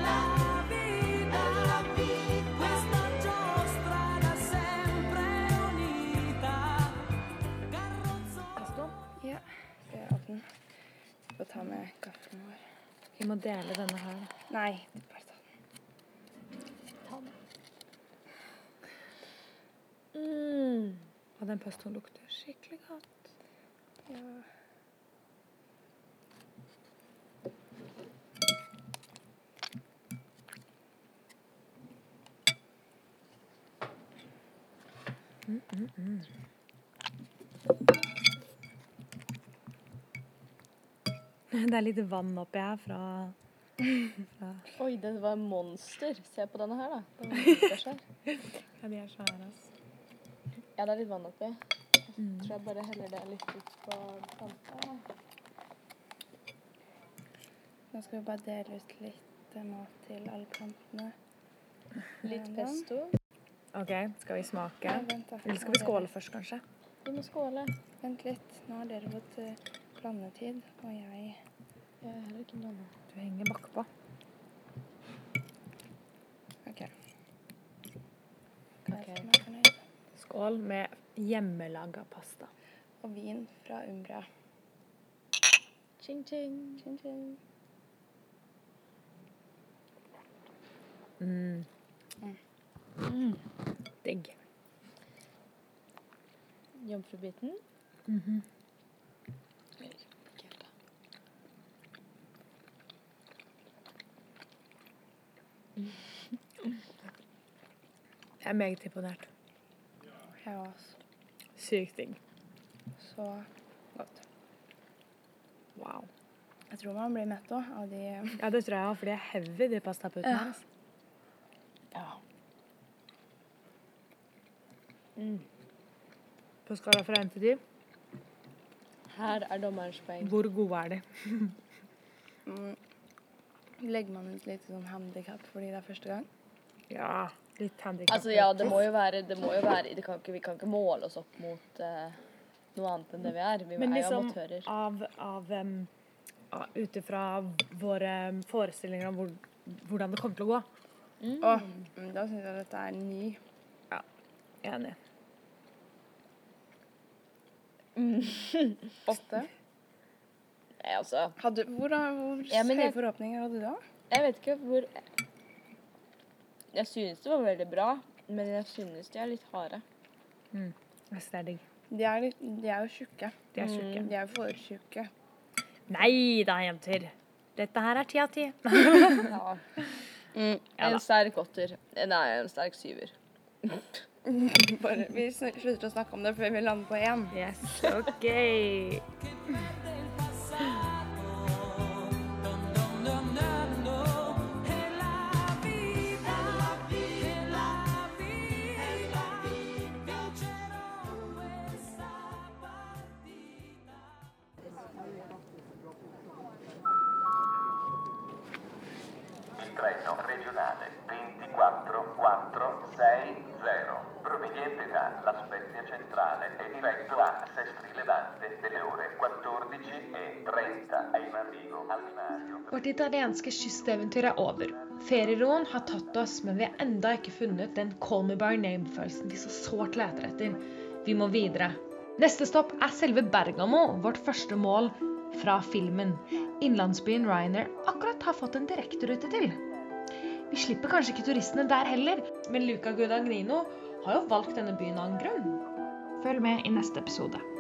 [SPEAKER 15] la vi, questa giostra era sempre unita.
[SPEAKER 1] Ja, skal jeg åpne den? Få ta med kaffen vår.
[SPEAKER 4] Vi må dele denne her.
[SPEAKER 1] Nei, bare ta den.
[SPEAKER 4] Mm. Og den pestoen lukter skikkelig godt. Mm, Det er litt vann oppi her fra
[SPEAKER 2] Oi, den var monster. Se på denne her, da. Den var kjempesvær.
[SPEAKER 4] Ja, de er svære, Mm. altså.
[SPEAKER 2] ja, det er litt vann oppi. Jeg tror jeg bare heller det litt ut på planta. da.
[SPEAKER 1] Nå skal vi bare dele ut litt eh, mat til alle plantene.
[SPEAKER 2] Litt
[SPEAKER 1] Ja, da.
[SPEAKER 2] pesto.
[SPEAKER 4] OK, skal vi smake?
[SPEAKER 1] Nei, vent da.
[SPEAKER 4] Eller skal vi skåle først, kanskje?
[SPEAKER 2] Vi må skåle.
[SPEAKER 1] Vent litt. Nå har dere fått eh, blandetid, og jeg
[SPEAKER 2] Jeg er heller ikke blanda.
[SPEAKER 4] Du henger bakpå.
[SPEAKER 1] OK.
[SPEAKER 4] Ok.
[SPEAKER 1] Jeg er fornøyd.
[SPEAKER 4] Skål med hjemmelaga pasta.
[SPEAKER 1] Og vin fra Umbra.
[SPEAKER 2] Ching, ching.
[SPEAKER 1] Tjing, tjing.
[SPEAKER 4] Digg.
[SPEAKER 2] Jomfrubiten.
[SPEAKER 4] Mhm. Jeg er meget imponert.
[SPEAKER 1] Jeg også.
[SPEAKER 4] Sykt digg.
[SPEAKER 1] Så godt.
[SPEAKER 4] Wow.
[SPEAKER 1] Jeg tror man blir mett òg av de
[SPEAKER 4] Ja, det tror jeg òg, for de er heavy, de pastaputtene. Ja. Altså. Mm. På skala fra 1 til 10,
[SPEAKER 2] Her er dommerens poeng.
[SPEAKER 4] hvor gode er de?
[SPEAKER 1] mm, Legger man ut litt sånn handikap fordi det er første gang?
[SPEAKER 4] Ja, litt handikap.
[SPEAKER 2] Altså, ja, det må jo være, det må jo være det kan ikke, Vi kan ikke måle oss opp mot eh, noe annet enn det vi er. Vi
[SPEAKER 4] Men
[SPEAKER 2] er jo
[SPEAKER 4] liksom
[SPEAKER 2] amatører.
[SPEAKER 4] av, av um, av- Ut ifra våre um, forestillinger om hvor, hvordan det kommer til å gå.
[SPEAKER 1] Åh, mm, da syns jeg dette er ny.
[SPEAKER 4] Enig.
[SPEAKER 1] Åtte.
[SPEAKER 2] Mm. Nei, altså
[SPEAKER 1] Hadde, hvor da, hvor
[SPEAKER 2] Ja, men
[SPEAKER 1] høye
[SPEAKER 2] jeg-
[SPEAKER 1] forhåpninger hadde du da?
[SPEAKER 2] Jeg vet ikke hvor Jeg synes det var veldig bra, men jeg synes de er litt harde.
[SPEAKER 4] Jeg synes det er digg.
[SPEAKER 1] De er, litt- de er jo tjukke.
[SPEAKER 4] De er tjukke.
[SPEAKER 1] De er jo for tjukke.
[SPEAKER 4] Nei da, jenter. Dette her er ti av ti. Ja da.
[SPEAKER 2] en sterk åtter. Nei, en sterk syver.
[SPEAKER 1] Bare, vi sn- slutter å snakke om det før vi lander på én.
[SPEAKER 4] Yes, OK.
[SPEAKER 16] Il treno regionale 24460, proveniente dalla Spezia Centrale e diretto a Sestri Levante delle ore 14.30 ai Marino al binario
[SPEAKER 3] Vårt italienske kysteventyr er over. Ferieroen har tatt oss, men vi har enda ikke funnet den call me by name-følelsen vi så sårt leter etter. Vi må videre. Neste stopp er selve Bergamo, vårt første mål fra filmen. Innlandsbyen Ryanair akkurat har fått en direkterute til. Vi slipper kanskje ikke turistene der heller, men Luca Guadagnino har jo valgt denne byen av en grunn. Følg med i neste episode.